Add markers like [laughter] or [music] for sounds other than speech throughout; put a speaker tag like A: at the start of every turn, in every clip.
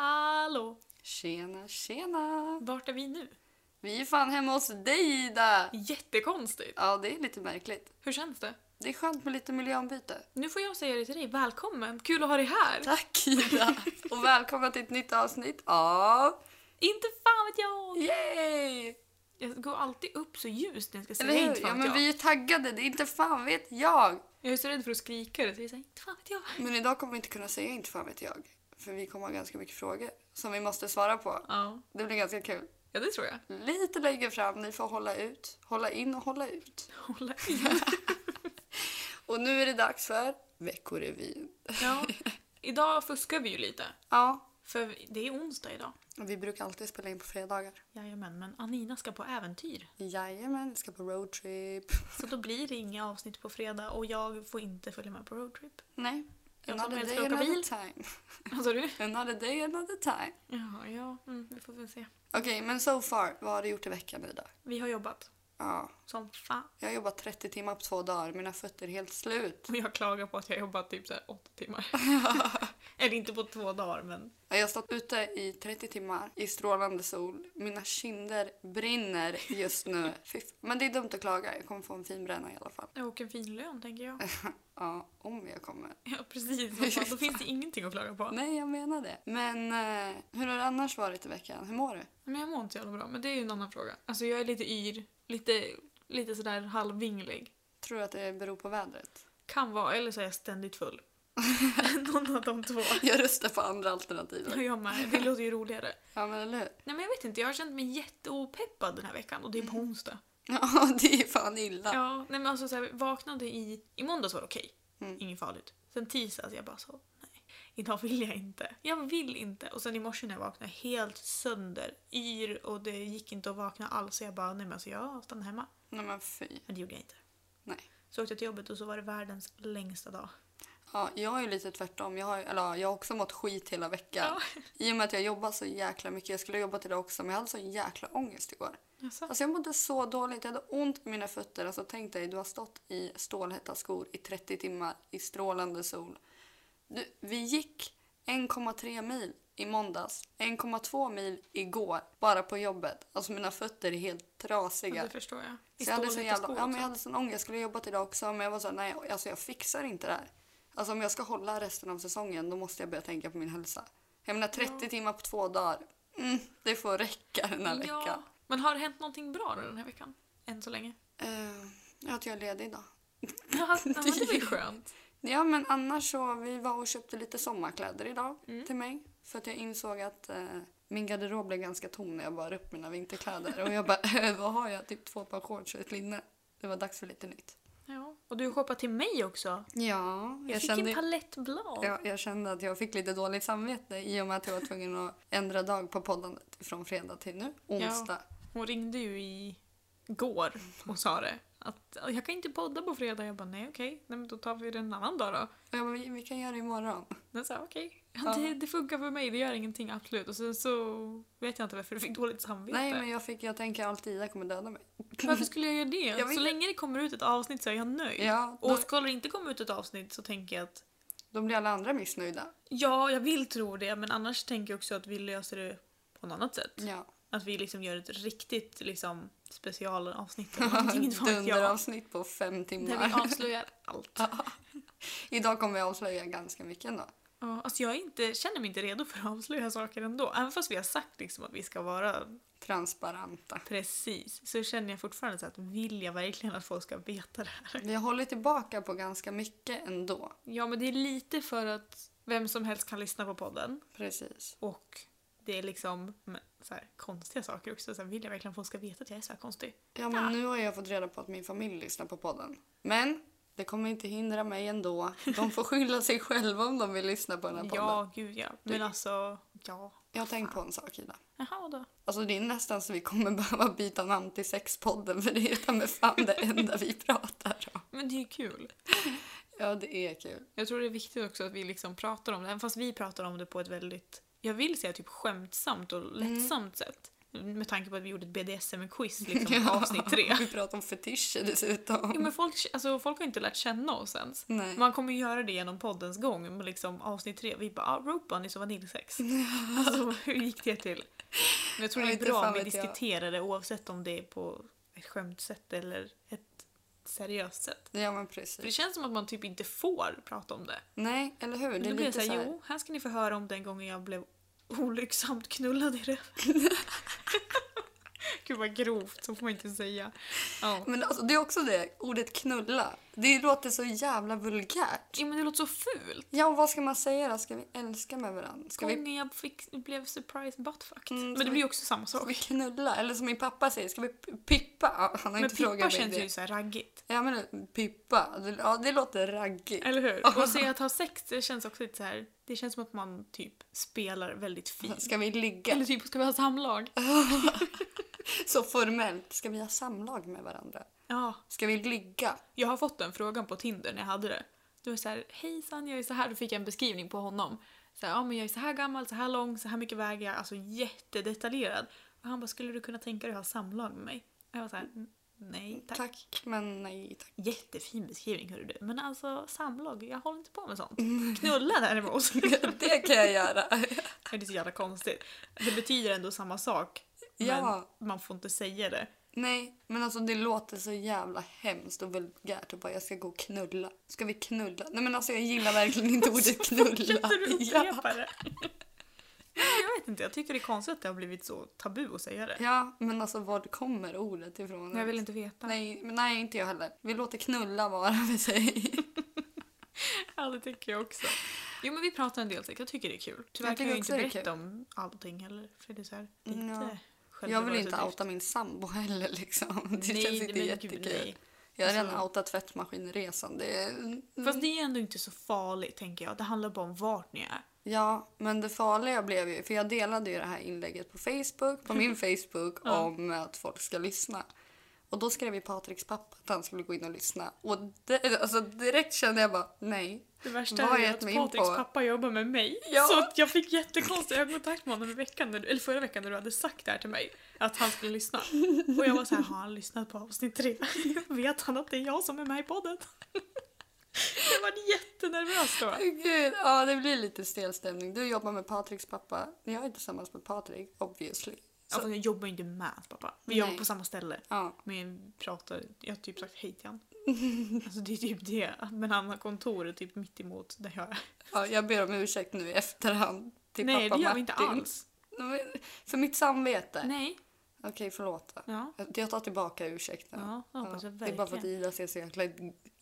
A: Hallå!
B: Tjena, tjena!
A: Vart är vi nu?
B: Vi är fan hemma hos dig Ida!
A: Jättekonstigt!
B: Ja, det är lite märkligt.
A: Hur känns det?
B: Det är skönt med lite miljöombyte.
A: Nu får jag säga det till dig. Välkommen! Kul att ha dig här!
B: Tack Ida! [laughs] Och välkomna till ett nytt avsnitt av...
A: Inte fan vet jag!
B: Yay!
A: Jag går alltid upp så ljust när jag ska
B: Eller
A: säga
B: hur?
A: inte
B: Ja,
A: fan vet
B: men
A: jag.
B: vi är taggade. Det är inte fan vet jag.
A: Jag är så rädd för att skrika det så jag säger inte fan vet jag.
B: Men idag kommer vi inte kunna säga inte fan vet jag. För vi kommer ha ganska mycket frågor som vi måste svara på.
A: Ja,
B: Det blir ganska kul.
A: ja det tror jag.
B: Lite längre fram, ni får hålla ut. Hålla in och hålla ut.
A: Hålla [laughs] i.
B: Och nu är det dags för Veckorevyn.
A: Ja. Idag fuskar vi ju lite.
B: Ja,
A: För det är onsdag idag.
B: Och Vi brukar alltid spela in på fredagar.
A: Jajamän, men Anina ska på äventyr.
B: Jajamän, vi ska på roadtrip.
A: Så då blir det inga avsnitt på fredag och jag får inte följa med på roadtrip.
B: Nej.
A: Jag kommer
B: Another
A: inte
B: day,
A: åka
B: another
A: bil.
B: time.
A: Vad
B: Alltså,
A: sa du?
B: Another day, another time.
A: Jaha, ja. Mm, vi får väl se.
B: Okej, men so far, vad har du gjort i veckan Ida?
A: Vi har jobbat
B: Ja,
A: som fan.
B: jag har jobbat 30 timmar på två dagar. Mina fötter är helt
A: [laughs]
B: slut.
A: Och jag klagar på att jag jobbat typ så här åtta [laughs] timmar. Eller inte på två dagar men.
B: Jag har stått ute i 30 timmar i strålande sol. Mina kinder brinner
A: [laughs]
B: just nu. Fy f- Men det är dumt att klaga. Jag kommer få en fin bränna i alla fall.
A: Och en fin lön tänker [laughs] jag.
B: Ja, om jag kommer.
A: Ja precis, vad fan, då finns det ingenting att klaga på.
B: Nej, jag menar det. Men eh, hur har det annars varit i veckan? Hur mår du?
A: Men jag mår inte så jävla bra, men det är ju en annan fråga. Alltså jag är lite yr, lite, lite sådär halvvinglig.
B: Tror du att det beror på vädret? [laughs]
A: Kan vara, eller så är jag ständigt [laughs] full. Någon av de två.
B: Jag röstar på andra
A: Ja,
B: alternativet.
A: Jag med, det låter ju roligare.
B: Ja, men eller hur? [laughs]
A: Nej men jag vet inte, jag har känt mig jätteopeppad den här veckan och det är på onsdag.
B: Ja, det är fan illa.
A: Ja, nej men alltså så här, vaknade i... I måndags var det okej.
B: Mm.
A: Inget farligt. Sen tisdags jag bara så, nej. Idag vill jag inte. Jag vill inte. Och sen i morse när jag vaknade helt sönder, yr och det gick inte att vakna alls. Så jag bara, nej men alltså jag stannar hemma.
B: Nej, men fy.
A: Men det gjorde jag inte.
B: Nej.
A: Så åkte jag till jobbet och så var det världens längsta dag.
B: Ja, jag är ju lite tvärtom. Jag har, eller, ja, jag har också mått skit hela veckan. I och med att jag jobbar så jäkla mycket. Jag skulle ha jobbat idag också, men jag hade så jäkla ångest igår.
A: Jaså?
B: Alltså jag mådde så dåligt. Jag hade ont i mina fötter. Alltså tänk dig, du har stått i stålhätta skor i 30 timmar i strålande sol. Du, vi gick 1,3 mil i måndags, 1,2 mil igår, bara på jobbet. Alltså mina fötter är helt
A: Ja,
B: trasiga.
A: det förstår jag. I alltså-
B: Så jag, hade sån
A: stålhätta
B: jävla,
A: skor
B: ja, men jag
A: också.
B: hade sån ångest. Jag skulle ha jobbat idag också men jag var så här, nej alltså jag fixar inte det här. Alltså om jag ska hålla resten av säsongen då måste jag börja tänka på min hälsa. Jag menar 30 timmar på två dagar. Mm, det får räcka den här veckan.
A: Ja. Men har det hänt någonting bra då den här veckan? Än så
B: [laughs]
A: länge?
B: Eh, ja, att jag är ledig idag.
A: Ja, men det var ju
B: Det-
A: skönt.
B: Ja men annars så vi var och köpte lite sommarkläder idag
A: Mm.
B: till mig. För att jag insåg att eh, min garderob blev ganska tom när jag bar upp mina vinterkläder. Och jag bara, [laughs] eh, vad har jag? Typ två par shorts och ett linne. Det var dags för lite nytt.
A: Ja. Och du shoppade till mig också.
B: Ja,
A: Jag, fick en palett blad.
B: Ja, jag kände att jag fick lite dåligt samvete i och med att jag var tvungen att ändra dag på poddandet från fredag till nu, onsdag.
A: Hon ringde ju i går och sa det. Att jag kan inte podda på fredag. Jag bara nej okej, nej, men då tar vi det en annan dag då.
B: Och jag bara, vi, vi kan göra det imorgon.
A: Den sa okej,
B: Ja.
A: det, det funkar för mig, det gör ingenting absolut. Och sen så vet jag inte varför du fick dåligt samvete.
B: Nej, men jag, fick, jag tänker alltid Ida kommer döda mig.
A: Varför skulle jag göra det?
B: [laughs] Jag vet
A: så
B: inte.
A: länge det kommer ut ett avsnitt så är jag nöjd.
B: Ja, då,
A: Och skulle det inte komma ut ett avsnitt så tänker jag att
B: då blir alla andra missnöjda.
A: ja, jag vill tro det men annars tänker jag också att vi löser det på något annat sätt.
B: Ja.
A: Att vi liksom gör ett riktigt liksom, specialavsnitt.
B: [laughs]
A: eller någonting, inte vet jag.
B: Dunderavsnitt på fem
A: Där vi
B: timmar.
A: avslöjar allt.
B: [laughs] Idag kommer jag avslöja ganska mycket ändå.
A: Ja, alltså jag är inte, känner mig inte redo för att avslöja saker ändå. Även fast vi har sagt liksom att vi ska vara
B: Transparenta.
A: precis så känner jag fortfarande så att vill jag verkligen att folk ska veta det här?
B: Vi håller tillbaka på ganska mycket ändå.
A: Ja, men det är lite för att vem som helst kan lyssna på podden
B: Precis.
A: och det är liksom men, så här, konstiga saker också. Så här, vill jag verkligen att folk ska veta att jag är så här konstig?
B: Ja, men nu har jag fått reda på att min familj lyssnar på podden. Men det kommer inte hindra mig ändå. De får skylla sig själva om de vill lyssna på den här podden.
A: Ja, gud ja. Men
B: Det-
A: alltså, ja.
B: Jag har tänkt på en sak, Ida.
A: Jaha då.
B: Alltså det är nästan så vi kommer [laughs] behöva byta namn till sexpodden för det är ta mig fan det enda vi pratar om.
A: Men det är ju kul.
B: Ja, det är kul.
A: Jag tror det är viktigt också att vi liksom
B: Mm.
A: pratar om det, även fast vi pratar om det på ett väldigt, jag vill säga typ skämtsamt och lättsamt sätt. Med tanke på att vi gjorde ett BDSM-quiz
B: [laughs]
A: liksom, i avsnitt tre.
B: Vi pratar om fetischer dessutom.
A: Jo, men folk, alltså, folk har inte lärt känna oss ens.
B: Nej.
A: Man kommer ju göra det genom poddens gång, men liksom avsnitt tre, vi bara ah, rope bunnies och
B: [laughs]
A: vaniljsex. alltså hur gick det till? Men jag tror det
B: Jag vet
A: är
B: inte
A: bra
B: fan
A: om vi
B: vet jag.
A: diskuterar det oavsett om det är på ett skämtsätt eller ett seriöst sätt.
B: Ja men
A: För det
B: precis.
A: känns som att man typ inte får prata om det.
B: Nej, eller hur? Det
A: Det
B: är
A: då blir
B: lite
A: det
B: så
A: såhär,
B: här.
A: jo, här ska ni få höra om den gången jag blev olycksamt knullad i röven.
B: [laughs]
A: Gud vad grovt, så får man inte säga. Ja.
B: Men alltså, det är också det, ordet knulla. Det låter så jävla vulgärt.
A: Jo men det låter så fult.
B: Ja, och vad ska man säga då? Ska vi älska med varandra? Ska vi,
A: Gången jag fick, blev surprise buttfucked.
B: Mm,
A: men
B: så
A: det
B: vi-
A: blir ju också samma
B: ska vi
A: sak.
B: knulla? Eller som min pappa säger, ska vi p- pippa? Ja, Han har
A: Men
B: inte frågat
A: pippa
B: mig
A: känns
B: det.
A: ju såhär raggigt.
B: Ja men pippa, det, ja, det låter raggigt.
A: Eller hur? Och säga att ha sex, det känns också lite så här. Det känns som att man typ spelar väldigt fint.
B: Ska vi ligga?
A: Eller typ, ska vi ha
B: [laughs]
A: samlag?
B: Så formellt, ska vi ha samlag med varandra?
A: Ja.
B: Ska vi ligga?
A: Jag har fått den frågan på Tinder när jag hade det. Då var det så här, hejsan jag är så här. Då fick jag en beskrivning på honom. Så här, ja men jag är så här gammal, så här lång, så här mycket väger jag. Alltså jättedetaljerad. Och han bara, skulle du kunna tänka dig att ha samlag med mig? Jag var så här, "N- nej tack.
B: Mm, Tack, men nej tack.
A: Jättefin beskrivning hörru du. Men alltså samlag, jag håller inte på med sånt. Knulla däremot.
B: Mm. [laughs] Det kan jag göra. [laughs]
A: det är så jävla konstigt. Det betyder ändå samma sak. Men
B: Ja.
A: man får inte säga det.
B: Nej, men alltså det låter så jävla hemskt och vulgärt och bara jag ska gå och knulla. Ska vi knulla? Nej men alltså jag gillar
A: [laughs]
B: verkligen inte ordet knulla.
A: Fortsätter du
B: [laughs] Ja.
A: upprepa det? Nej, Jag vet inte, jag tycker det är konstigt att det har blivit så tabu att säga det.
B: ja, men alltså var kommer ordet ifrån?
A: Jag vill inte veta.
B: Nej, men nej, inte jag heller. Vi låter knulla [laughs] vara för sig.
A: Ja, det tycker jag också. Jo, men vi pratar en del sex. Jag tycker det är kul. Tyvärr
B: tycker
A: kan jag
B: också
A: inte
B: det är Mm,
A: berätta om allting heller. För det är så här, det är
B: Ja.
A: inte
B: Jag vill inte
A: självbevarelsedrift.
B: outa min sambo heller liksom. [laughs] Det
A: Nej,
B: känns inte
A: men
B: jättekul.
A: Gud, nej.
B: Jag har redan
A: Alltså-
B: outat tvättmaskinresan. Det är...
A: Fast det är ändå inte så farligt, tänker jag. Det handlar bara om vart ni är.
B: Ja, men det farliga blev ju, för jag delade ju det här inlägget på Facebook,
A: [laughs]
B: på min Facebook,
A: Ja.
B: om att folk ska lyssna. Och då skrev ju Patriks pappa att han skulle gå in och lyssna. Och det, alltså direkt kände jag bara, nej.
A: Det värsta
B: Vad
A: är
B: är
A: att
B: det min
A: Patriks
B: på?
A: pappa jobbar med mig.
B: Ja.
A: Så att jag fick jättekonstig ögonkontakt med honom i veckan, när du, eller förra veckan när du hade sagt det här till mig. Att han skulle lyssna. Och jag var så här, har han lyssnat på avsnitt tre? [laughs] Vet han att det är jag som är med i podden? [laughs] Jag var jättenervös då.
B: Gud, ja det blir lite stel stämning. Du jobbar med Patriks pappa. Jag är tillsammans med Patrik, obviously.
A: Ja,
B: Så,
A: fast Alltså, jag jobbar ju inte med hans pappa. Vi
B: Nej.
A: jobbar på samma ställe.
B: ja.
A: Men jag pratar, jag har typ sagt hej till
B: [laughs]
A: han. Alltså det är typ det. Men han har kontoret typ mitt emot där jag är.
B: ja, jag ber om ursäkt nu i efterhand till
A: Nej
B: pappa
A: det gör vi
B: Martin.
A: inte alls.
B: Men För mitt samvete.
A: Nej.
B: Okej, förlåt. då.
A: Ja.
B: Jag tar tillbaka ursäkten.
A: Ja, jag hoppas jag
B: det är bara för att
A: verkligen.
B: Ida ser så jäkla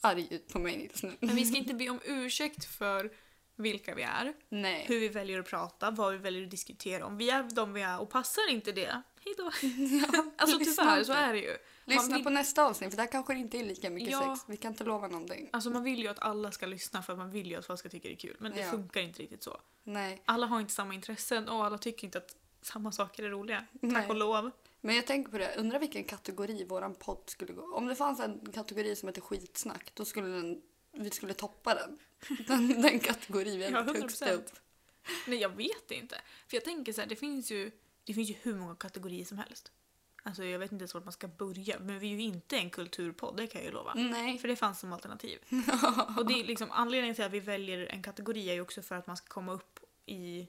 B: arg ut på mig just nu.
A: Men vi ska inte be om ursäkt för vilka vi är,
B: Nej.
A: hur vi väljer att prata, vad vi väljer att diskutera om. Vi är de vi är och passar inte det,
B: [laughs]
A: hejdå. Alltså
B: lyssna
A: tyvärr
B: inte.
A: så är det ju.
B: Lyssna
A: man vill-
B: på nästa avsnitt för där kanske det inte är lika mycket
A: Ja.
B: sex. Vi kan inte lova någonting.
A: Alltså man vill ju att alla ska lyssna för man vill ju att folk ska tycka det är kul. Men det
B: Ja.
A: funkar inte riktigt så.
B: Nej.
A: Alla har inte samma intressen och alla tycker inte att samma saker är roliga. Tack
B: Nej.
A: och lov.
B: Men jag tänker på det, undrar vilken kategori våran podd skulle gå. Om det fanns en kategori som heter skitsnack då skulle den, vi skulle
A: [laughs]
B: toppa den. Den, den kategori vi
A: Ja,
B: hade högst
A: 100%.
B: upp.
A: Nej jag vet inte. För jag tänker så här, det finns ju, det finns ju hur många kategorier som helst. Alltså jag vet inte ens vart man ska börja. Men vi är ju inte en kulturpodd, det kan jag ju lova.
B: Nej.
A: För det fanns som
B: [laughs]
A: alternativ. och det är liksom, anledningen till att vi väljer en kategori är ju också för att man ska komma upp i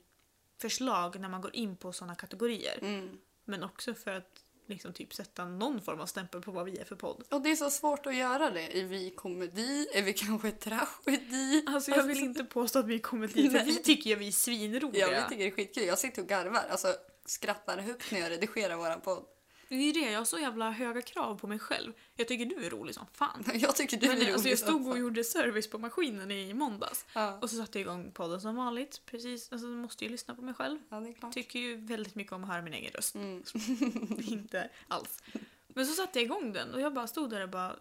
A: förslag när man går in på sådana kategorier.
B: Mm.
A: Men också för att liksom typ sätta någon form av stämpel på vad vi är för podd.
B: Och det är så svårt att göra det. Är vi komedi? Är vi kanske tragedi?
A: Alltså jag vill inte påstå att vi kommer dit för
B: Nej.
A: vi tycker ju att vi är
B: Ja,
A: svinroliga.
B: vi tycker det är skitkul. Jag sitter och garvar. Alltså skrattar högt när jag redigerar våran podd. [laughs]
A: det är det, jag har så jävla höga krav på mig själv. Jag tycker du är rolig som fan.
B: Jag tycker [laughs] du är
A: Men,
B: rolig.
A: alltså, jag
B: som
A: stod och
B: fan.
A: gjorde service på maskinen i måndags.
B: Ja.
A: Och så satte jag igång podden som vanligt. Precis, alltså, jag måste ju lyssna på mig själv.
B: ja, det är klart.
A: Tycker ju väldigt mycket om att höra min egen röst.
B: Mm.
A: [laughs] Inte alls. Men så satte jag igång den och jag bara stod där och bara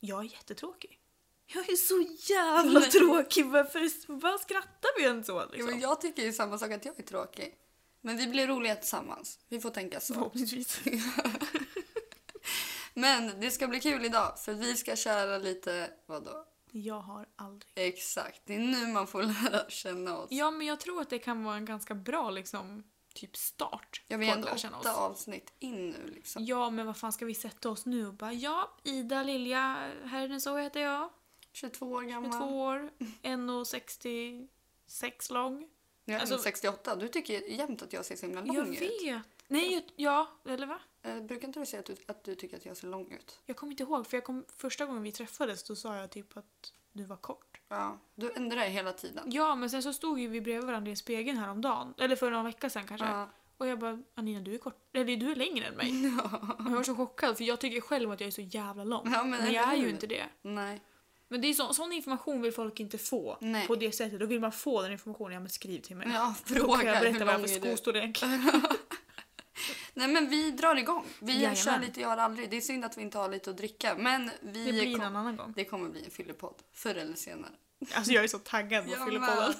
A: Jag är jättetråkig. Jag är så jävla tråkig, varför vad skrattar vi ens åt
B: Jo,
A: liksom?
B: men jag tycker ju samma sak att jag är tråkig. Men vi blir roliga tillsammans. Vi får tänka så.
A: Förhoppningsvis.
B: Men det ska bli kul idag för vi ska köra lite, vadå?
A: Jag har aldrig...
B: Exakt, det är nu man får [laughs] lära känna oss.
A: Ja men jag tror att det kan vara en ganska bra liksom typ start
B: Jag
A: på
B: är
A: att
B: ändå
A: lära känna
B: åtta
A: oss.
B: avsnitt in nu liksom.
A: Ja, men vad fan ska vi sätta oss nu och bara ja, Ida Lilja, herren så heter jag,
B: 22 år gammal.
A: 22 år, 1,66 lång.
B: Jag är
A: Alltså-
B: 68. Du tycker ju jämt att jag ser så himla lång
A: Jag
B: ut.
A: vet! Nej, jag- ja, eller va?
B: Eh, brukar inte du säga att du, att du tycker att jag ser lång ut?
A: Jag kommer inte ihåg, för jag kom, första gången vi träffades då sa jag typ att du var kort.
B: Ja. Du ändrar dig hela tiden.
A: Ja, men sen så stod ju vi bredvid varandra i spegeln häromdagen, eller för någon vecka sedan kanske.
B: Ja.
A: Och jag bara, Anina du är kort, eller du är längre än mig. Och jag var så chockad för jag tycker själv att jag är så jävla lång.
B: Ja, men
A: men,
B: eller
A: jag är
B: hur?
A: ju inte det.
B: Nej.
A: Men det är så, sån information vill folk inte få
B: Nej.
A: på det sättet. Då vill man få den informationen, ja men skriv till mig. [laughs]
B: Ja,
A: Då
B: fråga
A: kan jag
B: hur
A: berätta vad jag
B: lång
A: har för
B: är
A: [laughs]
B: du?
A: skostorlek.
B: Nej men vi drar igång. Vi
A: Jajamän.
B: kör lite jag har aldrig. Det är synd att vi inte har lite att dricka men vi
A: Det blir
B: kom-
A: någon annan gång.
B: det kommer bli en fyllepodd förr eller senare.
A: Alltså jag är så taggad på att fylla på den.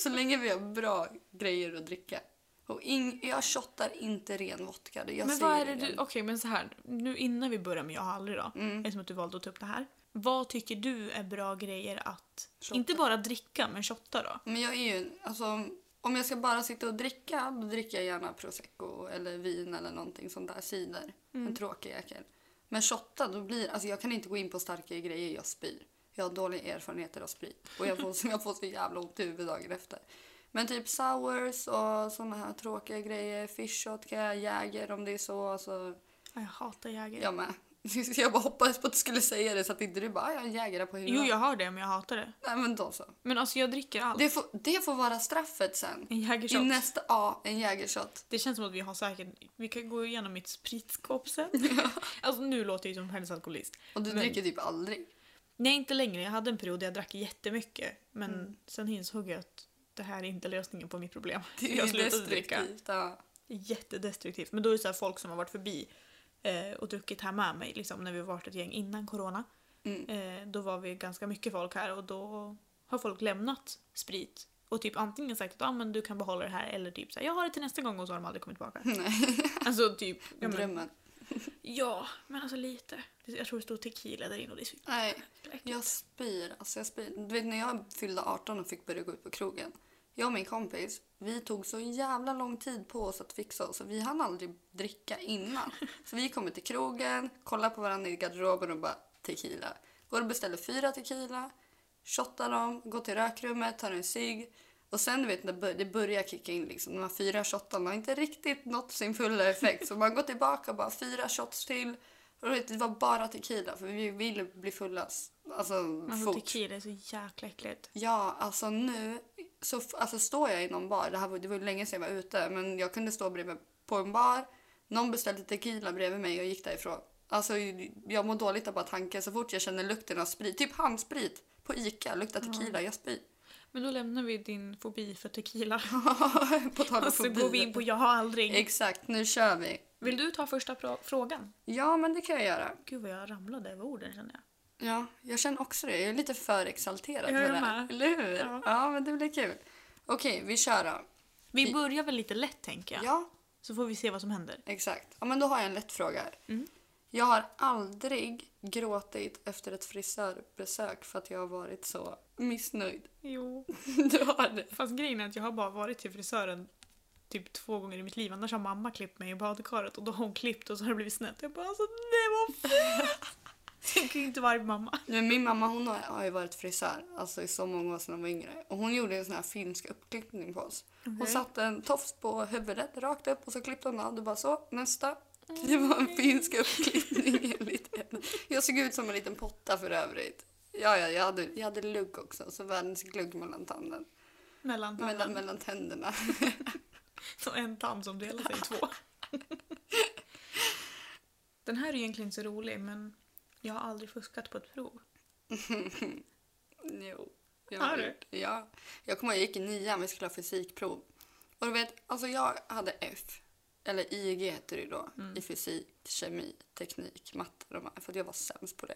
B: [laughs] Så länge vi har bra grejer att dricka. Och ing, jag shottar inte ren vodka. det- Jag
A: Men
B: säger
A: vad är det du,
B: igen. Mm.
A: okej men så här, nu innan vi börjar med jag har aldrig då, eftersom att du valde att ta upp det här. Vad tycker du är bra grejer att,
B: Shotta.
A: inte bara dricka men shotta då?
B: Men jag är ju, alltså, om jag ska bara sitta och dricka, då dricker jag gärna prosecco eller vin eller någonting sånt där, cider.
A: Mm.
B: En tråkig jäkel. Men shotta, då blir, alltså jag kan inte gå in på starkare grejer, jag spyr. Jag har dåliga erfarenheter av sprit och jag får, jag får så jävla ont i huvudet dagen efter. Men typ sours och såna här tråkiga grejer, fish shot kan jag, Jäger om det är så. Alltså,
A: Ja, Jag hatar Jäger.
B: jag med. [laughs] Jag bara hoppades på att du skulle säga det så att inte du bara, "Ah, jag har en Jägare på hyllan.
A: Jo jag har det men jag hatar det.
B: Nej men då så.
A: Men alltså jag dricker allt.
B: Det får, det får vara straffet sen.
A: En
B: I
A: Jägershot.
B: nästa, ja, en jägershot.
A: Det känns som att vi har säkert, vi kan gå igenom mitt spritskåp
B: [laughs]
A: sen. alltså nu låter jag ju som hennes alkoholist.
B: Och du
A: Men-
B: dricker typ aldrig.
A: Nej inte längre, jag hade en period där jag drack jättemycket. Men
B: Mm.
A: sen insåg jag att det här är inte lösningen på mitt problem.
B: Det
A: jag
B: är
A: slutade dricka.
B: destruktivt. Ja.
A: Jättedestruktivt. Men då är det så här folk som har varit förbi eh, och druckit här med mig liksom, när vi varit ett gäng innan corona.
B: Mm.
A: Eh, då var vi ganska mycket folk här och då har folk lämnat sprit och typ antingen sagt att ah, men du kan behålla det här eller typ så här, jag har det till nästa gång och så har de aldrig kommit tillbaka.
B: [laughs] Nej,
A: Alltså typ. Ja men,
B: drömmen.
A: ja, men alltså lite. Det- Jag tror det stod tequila där inne och det är så
B: Nej,
A: jäkla äckligt.
B: jag spyr. Alltså jag spyr. Du vet när jag fyllde 18 och fick börja gå ut på krogen. Jag och min kompis, vi tog så jävla lång tid på oss att fixa oss. så Vi hann aldrig
A: [laughs]
B: dricka innan. Så vi kommer till krogen, kollar på varandra i garderoben och bara tequila. Går och beställer fyra tequila, shottar dem, går till rökrummet, tar en cigg. Och sen du vet när det bör- det börjar kicka in liksom, de här fyra shottarna har inte riktigt nått sin fulla effekt. Så man går tillbaka och bara fyra shots till. Och du vet, det var bara tequila för vi vill bli fulla. Alltså
A: Alltså
B: fort.
A: tequila är så jäkla äckligt.
B: Ja, alltså nu så f- alltså, står jag i någon bar. Det, här var, det var ju länge sedan jag var ute, men jag kunde stå bredvid på en bar. Någon beställde tequila bredvid mig och jag gick därifrån. Alltså, jag mår dåligt av bara tanken så fort jag känner lukten av sprit. Typ handsprit på Ica, luktar tequila,
A: [laughs]
B: jag spyr.
A: Men då lämnar vi din fobi för tequila
B: på tal
A: [laughs]
B: om
A: och så
B: fobi.
A: går vi in på jag har aldrig.
B: Exakt, nu kör vi.
A: Vill du ta första pra- frågan?
B: Ja, men det kan jag göra.
A: Gud vad jag ramlade över orden känner jag.
B: Ja, jag känner också det. Jag är lite för exalterad
A: Ja, jag
B: det här.
A: med.
B: Eller hur? Ja.
A: Ja.
B: men det blir kul. Okej, vi kör då.
A: Vi börjar väl lite lätt tänker jag.
B: ja,
A: Så får vi se vad som händer.
B: Exakt. Ja, men då har jag en lätt fråga här. Jag har aldrig gråtit efter ett frisörbesök för att jag har varit så missnöjd. [laughs]
A: Jo.
B: Du har det?
A: Fast grejen är att jag har bara varit till frisören typ två gånger i mitt liv. Annars har mamma klippt mig i badkaret och då har hon klippt och så har det blivit snett. Jag bara alltså det var [laughs] fult! Jag kan ju inte vara arg på mamma.
B: Men min mamma hon har, har ju varit frisör alltså i så många år sedan hon var yngre. Och hon gjorde en sån här finsk uppklippning på oss. Hon
A: Okej.
B: satte en tofs på huvudet rakt upp och så klippte hon av. Du bara så, nästa. Det var en finsk uppklippning. enligt henne. jag såg ut som en liten potta för övrigt. Ja, ja, jag hade, jag hade lugg också. Så världens glugg mellan tanden.
A: Mellan
B: Mellan,
A: tanden.
B: mellan tänderna.
A: Så en tand som delar sig i två. Den här är egentligen inte så rolig men jag har aldrig fuskat på ett prov.
B: Jo. Jag
A: Har du?
B: gjort- Ja. Jag kommer ihåg, jag gick i nian, vi skulle ha fysikprov. Och du vet, alltså jag hade F, eller IG heter det ju då,
A: Mm.
B: i fysik, kemi, teknik, matte de här, för att jag var sämst på det.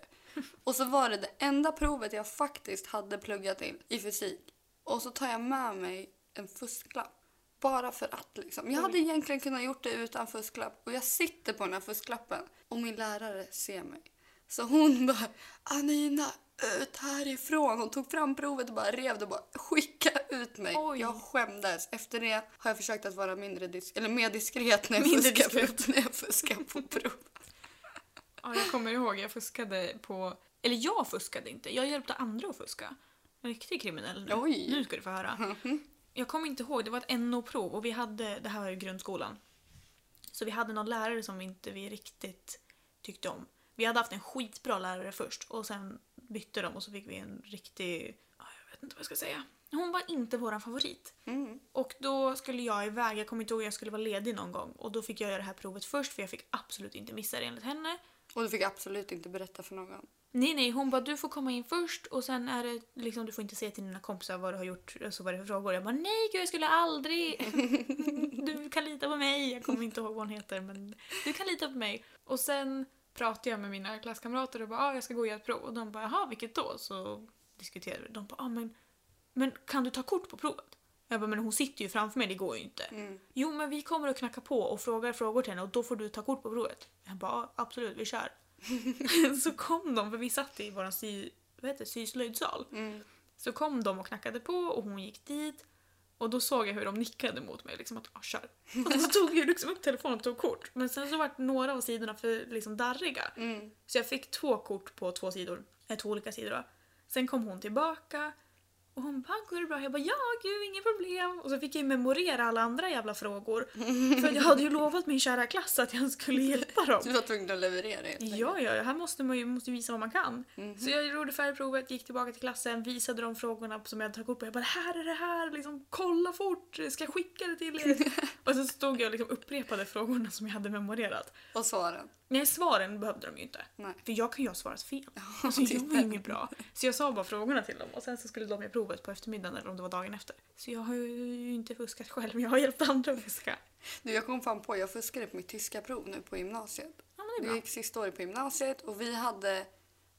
B: Och så var det det enda provet jag faktiskt hade pluggat in i fysik. Och så tar jag med mig en fusklapp. Bara för att liksom. Jag hade egentligen kunnat gjort det utan fusklapp. Och jag sitter på den här fusklappen och min lärare ser mig. Så hon [laughs] bara, Anina, ut härifrån. Hon tog fram provet och bara rev det och bara skicka ut mig.
A: Oj.
B: Jag skämdes. Efter det har jag försökt att vara mindre disk- eller mer diskret när jag,
A: Mindre
B: fuskar, På, när jag fuskar på prov.
A: Ja, jag kommer ihåg, jag fuskade på... Eller jag fuskade inte, jag hjälpte andra att fuska. En riktig kriminell nu.
B: Oj.
A: Nu ska du få höra. Jag kommer inte ihåg, det var ett NO-prov och vi hade, det här var ju grundskolan. Så vi hade någon lärare som vi inte vi riktigt tyckte om. Vi hade haft en skitbra lärare först och sen bytte de och så fick vi en riktig, ja, jag vet inte vad jag ska säga. Hon var inte våran favorit.
B: [laughs] Mm.
A: Och då skulle jag iväg, jag kommer inte ihåg, jag skulle vara ledig någon gång. Och då fick jag göra det här provet först för jag fick absolut inte missa det enligt henne.
B: Och du fick absolut inte berätta för någon.
A: Nej, nej, hon bara du får komma in först och sen är det liksom du får inte säga till dina kompisar vad du har gjort och så vad det är för frågor. Jag bara nej gud jag skulle aldrig. [laughs] Du kan lita på mig. Jag kommer inte ihåg vad hon heter men du kan lita på mig. Och sen pratade jag med mina klasskamrater och bara ah, jag ska gå och göra ett prov och de bara jaha vilket då? Så diskuterade vi. De bara ah, men, men kan du ta kort på provet? Jag bara men hon sitter ju framför mig det går ju inte.
B: Mm.
A: Jo men vi kommer att knacka på och frågar frågor till henne och då får du ta kort på provet. Jag bara "Ja, absolut vi kör. så kom de, för vi satt i vår sy, vad heter, det, syslöjdsal.
B: Mm.
A: Så kom de och knackade på och hon gick dit. Och då såg jag hur de nickade mot mig, liksom att ah, kör. Och så tog jag liksom upp telefonen och tog kort. Men sen så vart några av sidorna för liksom darriga.
B: Mm.
A: Så jag fick två kort på två sidor. Eh, två olika sidor då. Sen kom hon tillbaka och hon bara "Ah, “går det bra?” Jag bara “ja, gud, inget problem”. Och så fick jag ju memorera alla andra jävla frågor. För att jag hade ju lovat min kära klass att jag skulle hjälpa dem.
B: Du var tvungen att leverera helt enkelt.
A: Ja, ja, här måste man ju måste visa vad man kan.
B: Mhm.
A: Så jag gjorde färgprovet, gick tillbaka till klassen, visade de frågorna som jag hade tagit upp och jag bara “det här är det här, liksom, kolla fort, ska jag skicka det till er?” Och så stod jag och liksom upprepade frågorna som jag hade memorerat.
B: Och svaren.
A: Nej, svaren behövde de ju inte.
B: Nej.
A: För jag kan ju ha svarat fel. [laughs] Alltså, jag var
B: titta.
A: ju inget bra. Så jag sa bara frågorna till dem och sen så skulle de göra provet på eftermiddagen eller om det var dagen efter. Så jag har ju inte fuskat själv, men jag har hjälpt andra att fuska.
B: Du, jag kom fan på, jag fuskade på mitt tyska prov nu på gymnasiet.
A: Ja, men det är
B: Det
A: bra.
B: gick sista året på gymnasiet och vi hade,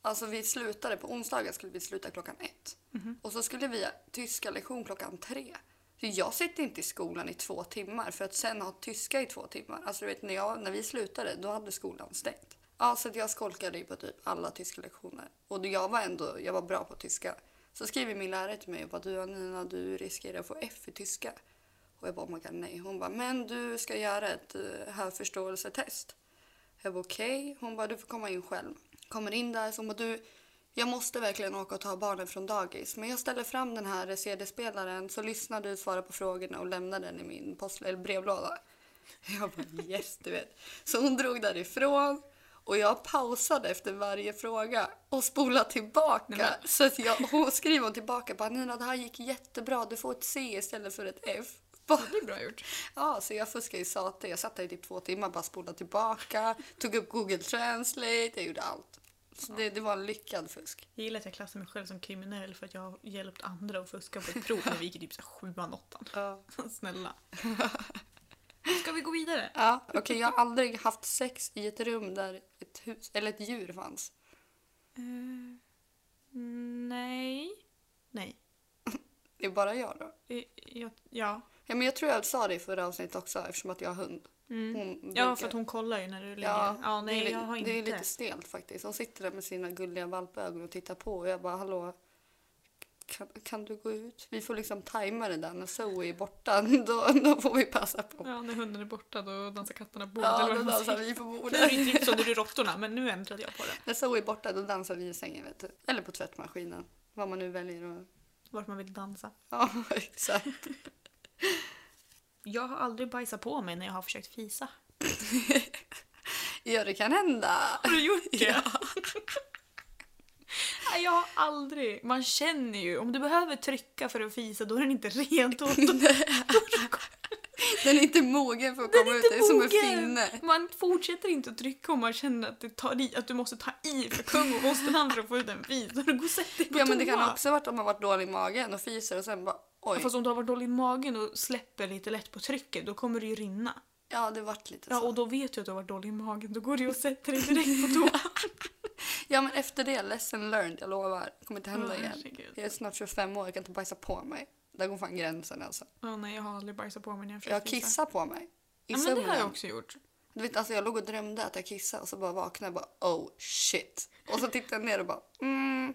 B: alltså vi slutade på onsdagar skulle vi sluta klockan ett. Och så skulle vi ha tyska lektion klockan tre. Så jag sitter inte i skolan i två timmar för att sen ha tyska i två timmar. Alltså du vet när, jag, när vi slutade då hade skolan stängt. Ja, så att jag skolkade ju på typ alla tyska lektioner. Och då jag var ändå, jag var bra på tyska. Så skriver min lärare till mig och bara du Anina du riskerar att få F i tyska. Och jag bara oh my god nej. Hon bara men du ska göra ett eh, hörförståelsetest. Jag var okej. Hon bara, du får komma in själv. Kommer in där, så hon bara, du, jag måste verkligen åka och ta barnen från dagis. Men jag ställer fram den här CD-spelaren så lyssnar du, svarar på frågorna och lämnar den i min post- eller brevlåda. Jag bara, yes du vet. Så hon drog därifrån och jag pausade efter varje fråga och spolade
A: Nej,
B: tillbaka.
A: men-
B: Så att jag, hon skrev hon tillbaka, bara, Nina det här gick jättebra, du får ett C istället för ett F. Bara,
A: Det är bra gjort.
B: Ja, så jag fuskade i sate. Jag satt där i typ två timmar, bara spolade tillbaka, tog upp Google Translate, jag gjorde allt. Så det, det var en lyckad fusk.
A: Jag gillar att jag klassar mig själv som kriminell för att jag har hjälpt andra att fuska på ett prov när vi gick i typ så här sjuan, åttan. [laughs]
B: Ja.
A: Snälla. Ska vi gå vidare?
B: Ja, Okej, jag har aldrig haft sex i ett rum där ett, hus, eller ett djur fanns.
A: Eh, nej. Nej.
B: Det är bara jag då.
A: Eh, jag- ja.
B: Ja, men jag tror jag sa det i förra avsnittet också eftersom att jag har hund.
A: Mm.
B: Hon brukar-
A: Ja, för att hon kollar ju när du ligger.
B: Ja,
A: Ja, nej,
B: det, är, li-
A: jag har inte.
B: det är lite stelt faktiskt. Hon sitter där med sina gulliga valpögon och tittar på och jag bara hallå, kan, kan du gå ut? Vi får liksom tajma det där när Zoe är borta, [laughs] då, då får vi passa på.
A: Ja, när hunden är borta då dansar katterna på bordet.
B: Ja,
A: eller
B: då
A: vad Mm. man
B: dansar
A: säger.
B: vi på
A: Nu är det
B: bordet.
A: ju typ som det är råttorna, men nu ändrade jag på det.
B: [laughs] När Zoe är borta då dansar vi i sängen vet du. Eller på tvättmaskinen. Vad man nu väljer att...
A: Vart man vill dansa.
B: Ja, [laughs] exakt.
A: Jag har aldrig bajsat på mig när jag har försökt fisa.
B: Ja, det kan hända. [laughs]
A: Har du gjort det? [laughs] Nej, jag har aldrig. Man känner ju, om du behöver trycka för att fisa då är den inte ren. Då, då,
B: Den är inte mogen för att
A: Den är
B: komma ut.
A: inte
B: Det är som en
A: mogen.
B: finne.
A: man fortsätter inte att trycka om man känner att, det tar i, att du måste ta i för kung och fosterland för att få ut en fis. Då går och sätter dig på
B: Ja, men det
A: toa.
B: kan också ha varit om man varit dålig i magen och fiser och sen bara oj.
A: Fast om du har varit dålig i magen och släpper lite lätt på trycket då kommer det ju rinna.
B: Ja, det vart lite
A: Ja,
B: så.
A: och då vet du att du har varit dålig i magen. Då går du och sätter dig direkt på
B: [laughs]
A: toa.
B: Ja men efter det, lesson learned, jag lovar. Det kommer inte hända
A: Åh,
B: igen.
A: herregud.
B: Jag är snart 25 år, jag kan inte bajsa på mig. Där går fan gränsen alltså.
A: Ja, nej, jag har aldrig bajsat på mig när jag försökt
B: Jag
A: fisa.
B: kissar på mig. I
A: Ja, men det har jag
B: sömnen.
A: också gjort.
B: Du vet, alltså jag låg och drömde att jag kissade och så bara vaknade jag och bara oh shit. Och så tittade jag ner och bara mm.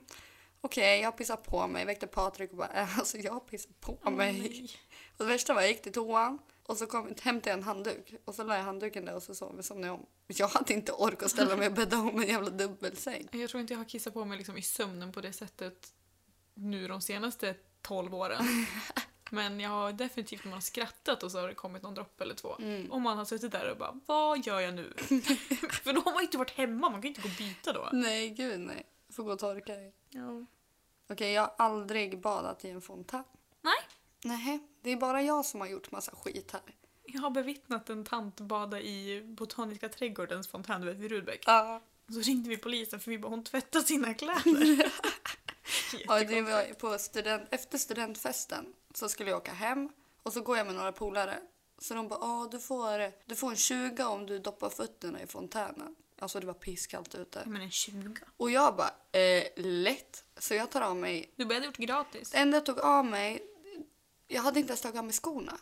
B: Okej, jag har pissat på mig. Väckte Patrik och bara "Äh, alltså jag har pissat på
A: Åh,
B: mig.
A: nej.
B: Och det värsta var jag gick till toan och så kom, hämtade jag en handduk och så la jag handduken där och så sov, somnade jag om. Jag hade inte ork att ställa mig och bädda om en jävla dubbelsäng.
A: Jag tror inte jag har kissat på mig liksom i sömnen på det sättet nu de senaste 12
B: [laughs]
A: åren. Men jag har definitivt när man har skrattat och så har det kommit någon droppe eller två.
B: Mm.
A: Och man har suttit där och bara, vad gör jag
B: [laughs]
A: nu? För då har man ju inte varit hemma, man kan ju inte gå och byta då.
B: Nej, gud nej. Får gå och torka dig.
A: Ja.
B: Okej, jag har aldrig badat i en fontän.
A: Nej,
B: Nej, det är bara jag som har gjort massa skit här.
A: jag har bevittnat en tant bada i Botaniska trädgårdens fontän du vet, vid Rudbeck.
B: Ja,
A: Så ringde vi polisen för vi bara, hon tvättar sina
B: [laughs]
A: kläder.
B: och det var på student, efter studentfesten så skulle jag åka hem och så går jag med några polare. Så de bara, "Ah, du får, du får en 20 om du doppar fötterna i fontänen. Alltså det var pisskallt ute.
A: Men en 20.
B: Och jag bara, eh, lätt. Så jag tar av mig.
A: Du började gjort gratis.
B: Det enda jag tog av mig, jag hade inte ens tagit av mig skorna.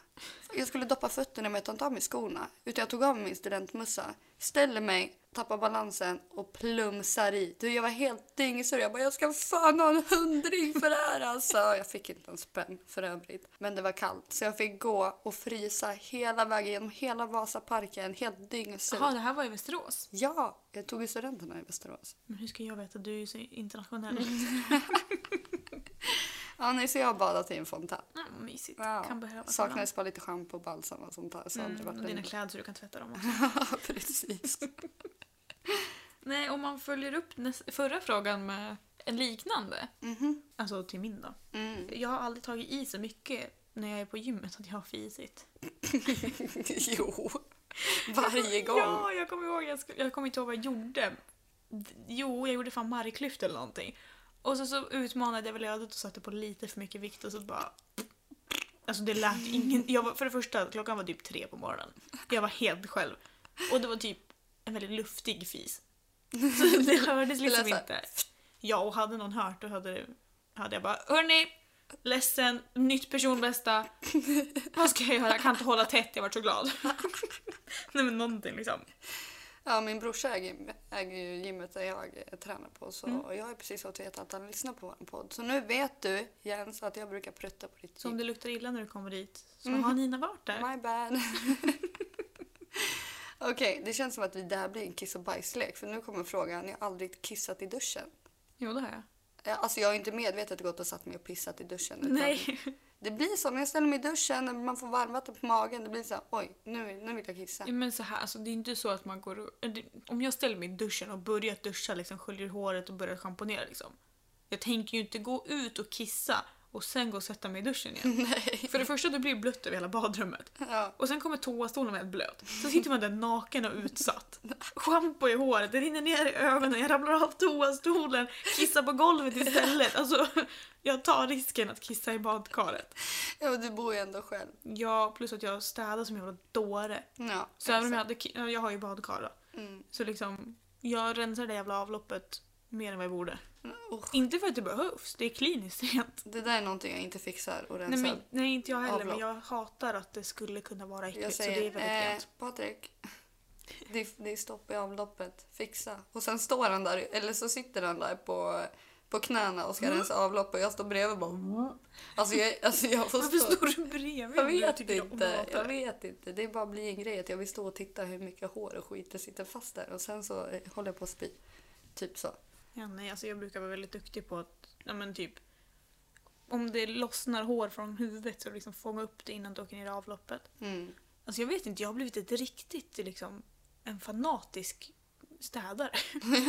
B: Jag skulle doppa fötterna men jag tog inte av mig skorna. Utan jag tog av mig min studentmössa, ställer mig, tappar balansen och plumsar i. Du, jag var helt dyngsur. Jag bara, jag ska fan ha en hundring för det här alltså. Jag fick inte en spänn för övrigt. Men det var kallt så jag fick gå och frysa hela vägen genom hela Vasaparken, helt dyngsur.
A: Jaha, det här var i Västerås.
B: Ja, jag tog ju studenterna i Västerås.
A: Men hur ska jag veta? Du är ju så internationell.
B: Mm. Ja, nej, så jag har badat i en fontän.
A: Mm, vad mysigt.
B: Ja.
A: Kan behövas.
B: Saknades bara lite schampo och balsam och sånt där. Så hade
A: ibland.
B: det
A: mm,
B: varit
A: och dina
B: en-
A: kläder så du kan tvätta dem också. [laughs]
B: [laughs] Ja, precis.
A: Nej, om man följer upp näs- förra frågan med en liknande.
B: Mhm.
A: Alltså till min då.
B: Mm. [laughs]
A: Jag har aldrig tagit i så mycket när jag är på gymmet att jag har fisit.
B: jo, varje gång.
A: Ja, jag kommer ihåg. Jag, skulle, jag kommer inte ihåg vad jag gjorde. D- Jo, jag gjorde fan marklyft eller någonting. Och så, så utmanade jag väl ödet och satte på lite för mycket vikt och så bara... Alltså det lät ju ingen... Jag var, för det första, klockan var typ tre på morgonen. Jag var helt själv. Och det var typ en väldigt luftig [laughs] fis. Så det hördes liksom
B: lät så här.
A: inte. Ja, och hade någon hört då hade, hade jag bara Hörni! Ledsen, nytt personbästa. Vad ska jag göra? Jag kan inte hålla tätt, jag vart så [laughs] glad. Nej men någonting liksom.
B: Ja, min brorsa äger, äger ju gymmet där jag eh, tränar på. Så
A: Mm.
B: och jag har precis fått veta att han lyssnar på vår podd. Så nu vet du, Jens, att jag brukar prutta på ditt
A: Så om
B: gym.
A: det luktar illa när du kommer dit, så har Nina varit där?
B: My bad. [laughs] Okej, det känns som att vi- det här blir en kiss och bajslek. För nu kommer frågan, jag har aldrig kissat i duschen.
A: Jo, det har jag.
B: Ja, Alltså jag har inte medvetet gått och satt mig och pissat i duschen. utan
A: Nej.
B: Det blir så när jag ställer mig i duschen och man får varmvatten på magen. Det blir så här, oj, nu, nu vill jag kissa.
A: Men så här, alltså, det är inte så att man går och, eh, det- Om jag ställer mig i duschen och börjar duscha, liksom, sköljer håret och börjar schamponera liksom. Jag tänker ju inte gå ut och kissa och sen gå och sätta mig i duschen
B: Mm.
A: igen.
B: [laughs] Nej.
A: För det första, det blir det blött över hela badrummet.
B: Ja.
A: Och sen kommer toastolen helt blöt. Så sitter man där naken och utsatt. Schampo i håret, det rinner ner i ögonen, jag ramlar av toastolen, kissar på golvet istället. Alltså, jag tar risken att kissa i badkaret.
B: ja, men du bor ju ändå själv.
A: Ja, plus att jag städar som en jävla dåre.
B: Ja,
A: Så även om jag
B: exakt.
A: hade... ki- ja, Jag har ju badkar då.
B: Mm.
A: Så liksom, jag rensar det jävla avloppet mer än vad jag borde.
B: Usch,
A: Inte för att det behövs, det är kliniskt rent.
B: det där är någonting jag inte fixar och
A: Nej,
B: rensar.
A: men, nej, inte jag heller, men
B: Avlopp.
A: jag hatar att det skulle kunna vara äckligt.
B: jag
A: så det är
B: säger,
A: väldigt
B: eh,
A: rent.
B: Patrik, [laughs] det, är- det är stopp i avloppet, fixa. Och sen står han där, eller så sitter han där på, på knäna och ska
A: Mm.
B: rensa avlopp och jag står bredvid och bara... "Mm." Alltså jag, alltså jag får
A: Varför
B: stå...
A: står du bredvid?
B: Jag
A: mig?
B: vet
A: tycker om
B: inte.
A: maten.
B: Jag vet inte. Det bara blir en grej att jag vill stå och titta hur mycket hår och skit det sitter fast där och sen så eh, håller jag på att spy. Typ så.
A: Ja, nej, alltså jag brukar vara väldigt duktig på att, ja men typ, om det lossnar hår från huvudet så liksom fånga upp det innan det åker ner i avloppet.
B: Mm.
A: Alltså jag vet inte, jag har blivit ett riktigt liksom, en fanatisk
B: [laughs]
A: städare. Nej,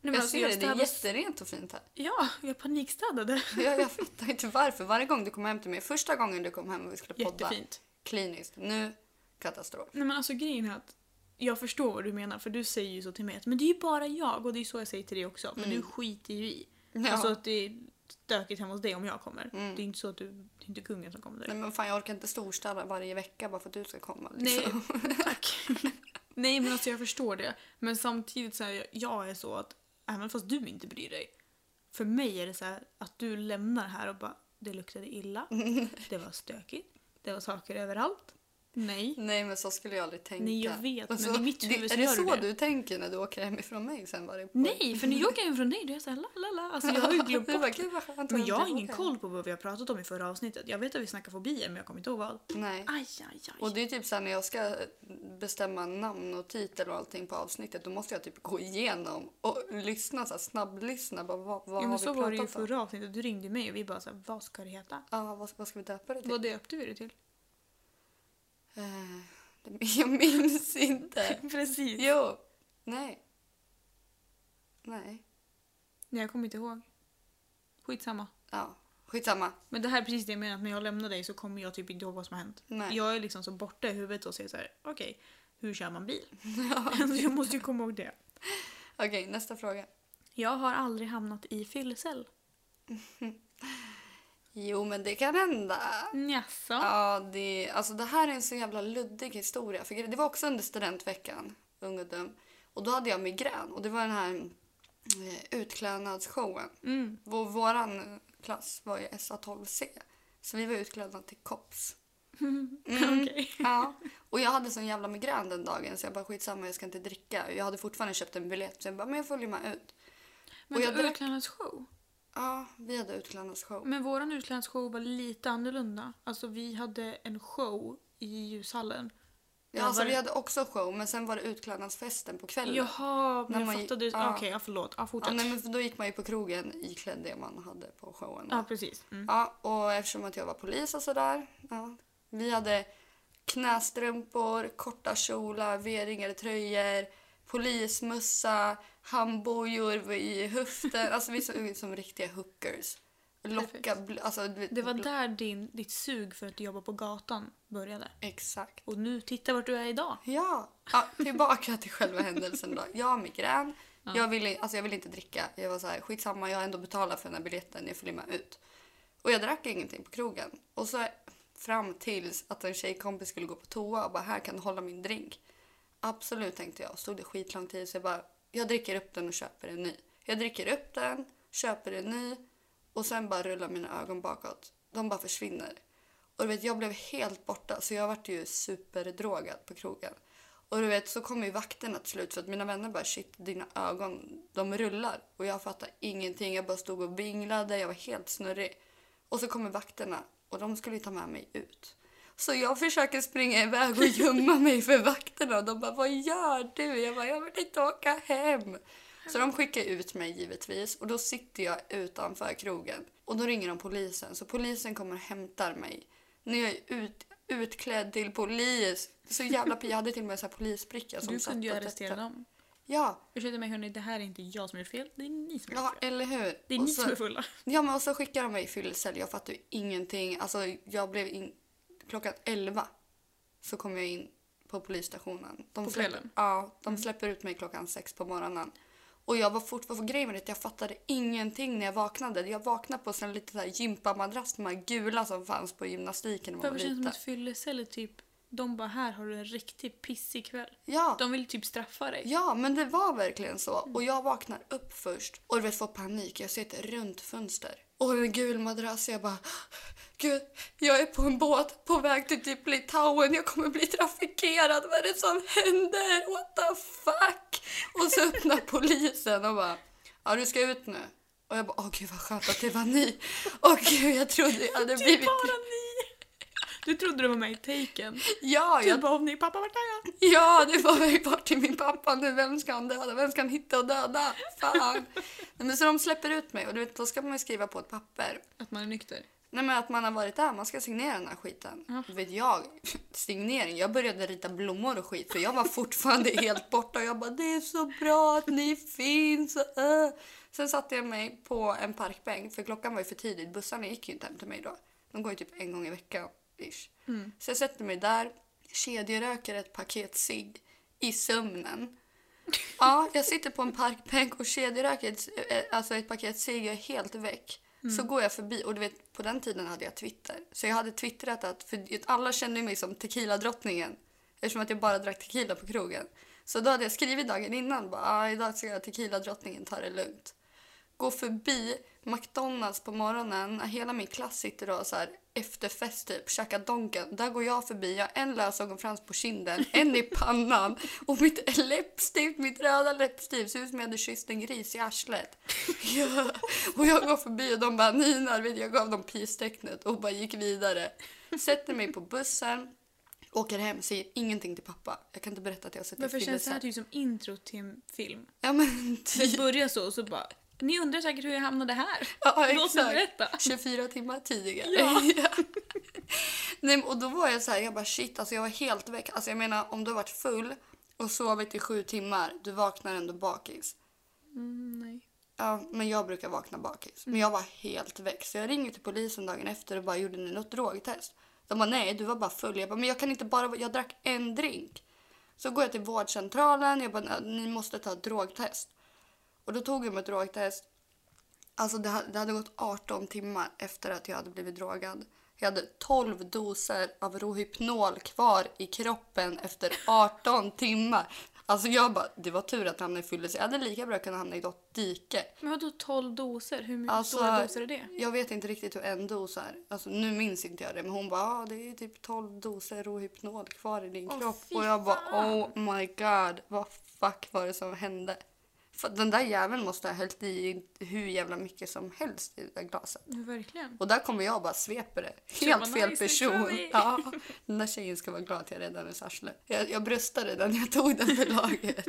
A: men
B: jag
A: alltså,
B: ser det, det är
A: städar-
B: jätterent och fint här. [laughs]
A: Ja, jag panikstädade.
B: Jag, jag fattar inte varför. Varje gång du kom hem till mig, första gången du kom hem och vi skulle podda,
A: Jättefint.
B: kliniskt. Nu, katastrof.
A: Nej men alltså grejen är att jag förstår vad du menar för du säger ju så till mig att men det är ju bara jag och det är så jag säger till dig också men du skiter ju i.
B: Mm.
A: [laughs]
B: Ja.
A: Alltså att det är stökigt hemma hos dig om jag kommer.
B: Mm.
A: Det är inte så att du, det är inte kungen som kommer där.
B: Nej men fan jag orkar inte storstäda varje vecka bara för att du ska komma.
A: Nej,
B: Liksom.
A: [laughs] tack. Nej, men alltså jag förstår det. Men samtidigt så här, jag är så att även fast du inte bryr dig. För mig är det så här att du
B: Mm.
A: lämnar här och bara det luktade illa. Det var stökigt. Det var saker överallt. Nej.
B: [laughs] Nej men så skulle jag aldrig tänka.
A: Nej, jag vet,
B: Och
A: men i mitt huvud så
B: Är det
A: gör du
B: så
A: det.
B: du tänker när du åker hemifrån mig sen varje gång?
A: Nej, för när jag åker hem från dig då är jag såhär la la la. Alltså jag har ju glömt
B: Du bara,
A: bort.
B: "Gud, vad skönt att
A: Men
B: inte
A: jag har ingen
B: åka."
A: koll på vad vi har pratat om i förra avsnittet. Jag vet att vi snackar fobier men jag kommer inte ihåg vad.
B: Nej.
A: Aj, aj,
B: Och
A: aj.
B: det är typ sen när jag ska bestämma namn och titel och allting på avsnittet då måste jag typ gå igenom och lyssna så här, snabblyssna. Bara, vad vad
A: Ja,
B: har
A: men
B: vi
A: så var det ju i
B: pratat om?
A: förra avsnittet. Du ringde mig och vi bara såhär, vad ska det heta?
B: Ja, vad, vad ska vi döpa det till?
A: Vad döpte vi det till?
B: Eh, [laughs] det- jag minns inte.
A: [laughs] Precis.
B: Jo. Nej. Nej.
A: Nej, jag kommer inte ihåg. Skitsamma.
B: Ja, skitsamma.
A: Men det här är precis det jag menar, att när jag lämnar dig så kommer jag typ inte ihåg vad som har hänt.
B: Nej.
A: Jag är liksom så borta i huvudet och säger så här: okej, hur kör man
B: [laughs]
A: bil? [laughs] så jag måste ju komma ihåg det.
B: Okej, nästa fråga.
A: Jag har aldrig hamnat i fyllecell.
B: Jo, men det kan hända.
A: Jaså?
B: Ja, det, alltså det här är en så jävla luddig historia. För det var också under studentveckan, Ung och dum. Och då hade jag migrän och det var den här eh, utklädnadsshowen.
A: Mm.
B: Vår, våran klass var ju SA12C, så vi var utklädda till kops. Mm.
A: [laughs] Okej.
B: Ja. [laughs] Och jag hade sån jävla migrän den dagen så jag bara skitsamma, jag ska inte dricka. Jag hade fortfarande köpt en biljett så jag bara, men jag följer med ut.
A: Men
B: Och jag
A: jag
B: drack-
A: utklädnadsshow?
B: Ja, vi hade utklädnadsshow.
A: Men våran utklädnadsshow var lite annorlunda. Alltså vi hade en show i ljushallen.
B: Ja,
A: Ja,
B: alltså
A: var det-
B: vi hade också show men sen var det utklädnadsfesten på kvällen.
A: Jaha,
B: När
A: men
B: man
A: jag
B: gick-
A: fattade.
B: ja.
A: Okej, ja, förlåt. Ja,
B: Ja,
A: fortsätt. Ja,
B: nej, men för då gick man ju på krogen iklädd det man hade på showen.
A: precis. Mm.
B: Ja, och eftersom att jag var polis och sådär. Ja, vi hade knästrumpor, korta kjolar, V-ringade tröjor, polismössa, handbojor i höften. Alltså vi såg ut som riktiga hookers. Locka,
A: Perfekt.
B: bl- alltså, du vet,
A: Det var
B: bl-
A: där din, ditt sug för att jobba på gatan började.
B: Exakt.
A: Och nu, titta vart du är idag.
B: Ja. ja, tillbaka till själva händelsen då. Jag har migrän.
A: Ja.
B: Jag, ville, alltså jag ville inte dricka. Jag var så här, skitsamma, jag har ändå betalat för den här biljetten. Jag följer med ut. Och jag drack ingenting på krogen. Och så fram tills att en tjejkompis skulle gå på toa och bara, här kan du hålla min drink. Absolut tänkte jag. Stod det skitlång tid så jag bara, jag dricker upp den och köper en ny. Jag dricker upp den, köper en ny och sen bara rullar mina ögon bakåt. De bara försvinner. Och du vet, jag blev helt borta så jag vart ju superdrogad på krogen. Och du vet, så kom ju vakterna till slut för att mina vänner bara shit, dina ögon, de rullar. Och jag fattar ingenting, jag bara stod och vinglade, jag var helt snurrig. Och så kommer vakterna och de skulle ju ta med mig ut. Så jag försöker springa iväg och gömma mig för vakterna och de bara “Vad gör du?” Jag bara “Jag vill inte åka hem”. Så de skickar ut mig givetvis och då sitter jag utanför krogen och då ringer de polisen så polisen kommer och hämtar mig. När jag är ut, utklädd till polis. Så jävla pi- Jag hade till och med så här polisbricka som
A: Du
B: satt
A: kunde ju
B: och
A: arrestera
B: tittade.
A: dem.
B: Ja,
A: Ursäkta mig hörni, det här är inte jag som har gjort fel. Det är ni som har
B: ja,
A: gjort fel.
B: eller hur?
A: Det är
B: Och
A: ni
B: så-
A: som är fulla.
B: Ja, men och så skickade de mig i fyllecell. Jag fattade ju ingenting. Alltså, jag blev in... Klockan 11 så kom jag in på polisstationen. De
A: På
B: släpper-
A: kvällen? Mm.
B: Ja, de släpper ut mig klockan 6 på morgonen. Och jag var fortfarande, för grejen var det att jag fattade ingenting när jag vaknade. Jag vaknade på en liten så här gympamadrass, de här gula som fanns på gymnastiken när man
A: Varför
B: var
A: känns det som
B: liten.
A: att fyllecell är typ... De bara här har du en riktigt pissig kväll.
B: Ja,
A: De vill typ straffa dig.
B: Ja, men det var verkligen så. Och jag vaknar upp först och du vet, får panik. Jag ser ett runt fönster och en gul madrass. Jag bara, gud, jag är på en båt på väg till typ Litauen. Jag kommer bli trafikerad. Vad är det som händer? What the fuck? Och så öppnar polisen och bara, ja du ska ut nu. Och jag bara, åh gud vad skönt att det var ni. Och gud, jag trodde jag hade
A: Det är
B: blivit...
A: Typ bara ni! Du trodde du var med i Taken.
B: Ja, jag
A: Du bara om ni pappa vart är jag?
B: [laughs] Ja, det var väl bort till min pappa nu. Vem ska han döda? Vem ska han hitta och döda? Fan. Nej, men så de släpper ut mig och du vet, då ska man ju skriva på ett papper.
A: Att man är nykter.
B: Nej men att man har varit där, man ska signera den här skiten.
A: Ja.
B: Du vet jag, [laughs] signering, jag började rita blommor och skit för jag var fortfarande helt borta och jag bara det är så bra att ni finns. och, äh." Sen satte jag mig på en parkbänk för klockan var ju för tidigt, bussarna gick ju inte hem till mig då. De går ju typ en gång i veckan ish. Så jag sätter mig där, kedjeröker ett paket cigg i sömnen. Ja, jag sitter på en parkbänk och kedjeröker ett, eh, alltså ett paket cigg jag är helt väck. Så går jag förbi och du vet på den tiden hade jag Twitter. Så jag hade twittrat att för alla kände mig som tequila-drottningen eftersom att jag bara drack tequila på krogen. Så då hade jag skrivit dagen innan bara ah, idag ska jag tequila-drottningen ta det lugnt. Gå förbi McDonalds på morgonen när hela min klass sitter och så här efterfest typ, käkar Donken. Där går jag förbi, jag har en lösögonfrans
A: [laughs]
B: på kinden, en i pannan och mitt läppstift, mitt röda läppstift ser ut som jag hade kysst en gris
A: [laughs]
B: i arslet. Ja. Och jag går förbi och de bara Nina, vet du, jag gav dem peace-tecknet och bara gick vidare. Sätter mig på bussen, åker hem, säger ingenting till pappa. Jag kan inte berätta att jag har sett
A: Varför
B: ett
A: känns det här
B: fyllecell.
A: typ som intro till en film?
B: [laughs] Ja men typ.
A: Det börjar så och så bara ni undrar säkert hur jag hamnade här.
B: Ja,
A: Låt mig berätta.
B: 24 timmar tidigare.
A: Ja.
B: [laughs] Nej, men- och då var jag så här, jag bara shit, alltså jag var helt väck. Alltså jag menar om du har varit full och sovit i sju timmar, du vaknar ändå bakis.
A: Mm, nej.
B: Ja, men jag brukar vakna bakis. Men jag var helt väck. Så jag ringer till polisen dagen efter och bara gjorde ni något drogtest? De bara nej, du var bara full. Jag bara men jag kan inte bara vara- jag drack en drink. Så går jag till vårdcentralen. Jag bara ni måste ta ett drogtest. Och då tog jag mitt drogtest. Alltså det, ha- det hade gått 18 timmar efter att jag hade blivit drogad. Jag hade 12 doser av Rohypnol kvar i kroppen efter 18 timmar. Alltså jag bara, det var tur att jag hamnade i fyllis. Jag hade lika bra kunnat hamna i något dike.
A: Men vadå 12 doser? Hur mycket
B: Alltså,
A: stora doser är det?
B: Jag vet inte riktigt hur en dos är. Alltså, nu minns inte jag det, men hon bara ah, det är typ 12 doser Rohypnol kvar i din
A: Åh,
B: kropp.
A: fy
B: Och jag bara
A: fan.
B: oh my god, vad fuck var det som hände? För den där jäveln måste ha hällt i hur jävla mycket som helst i det där glaset.
A: Nu verkligen.
B: Och där kommer jag och bara sveper det.
A: Kör
B: Helt
A: man
B: fel
A: nice,
B: person.
A: kör vi.
B: [laughs] Ja, den där tjejen ska vara glad att jag räddade hennes arsle. Jag, jag bröstade den, jag tog den för laget.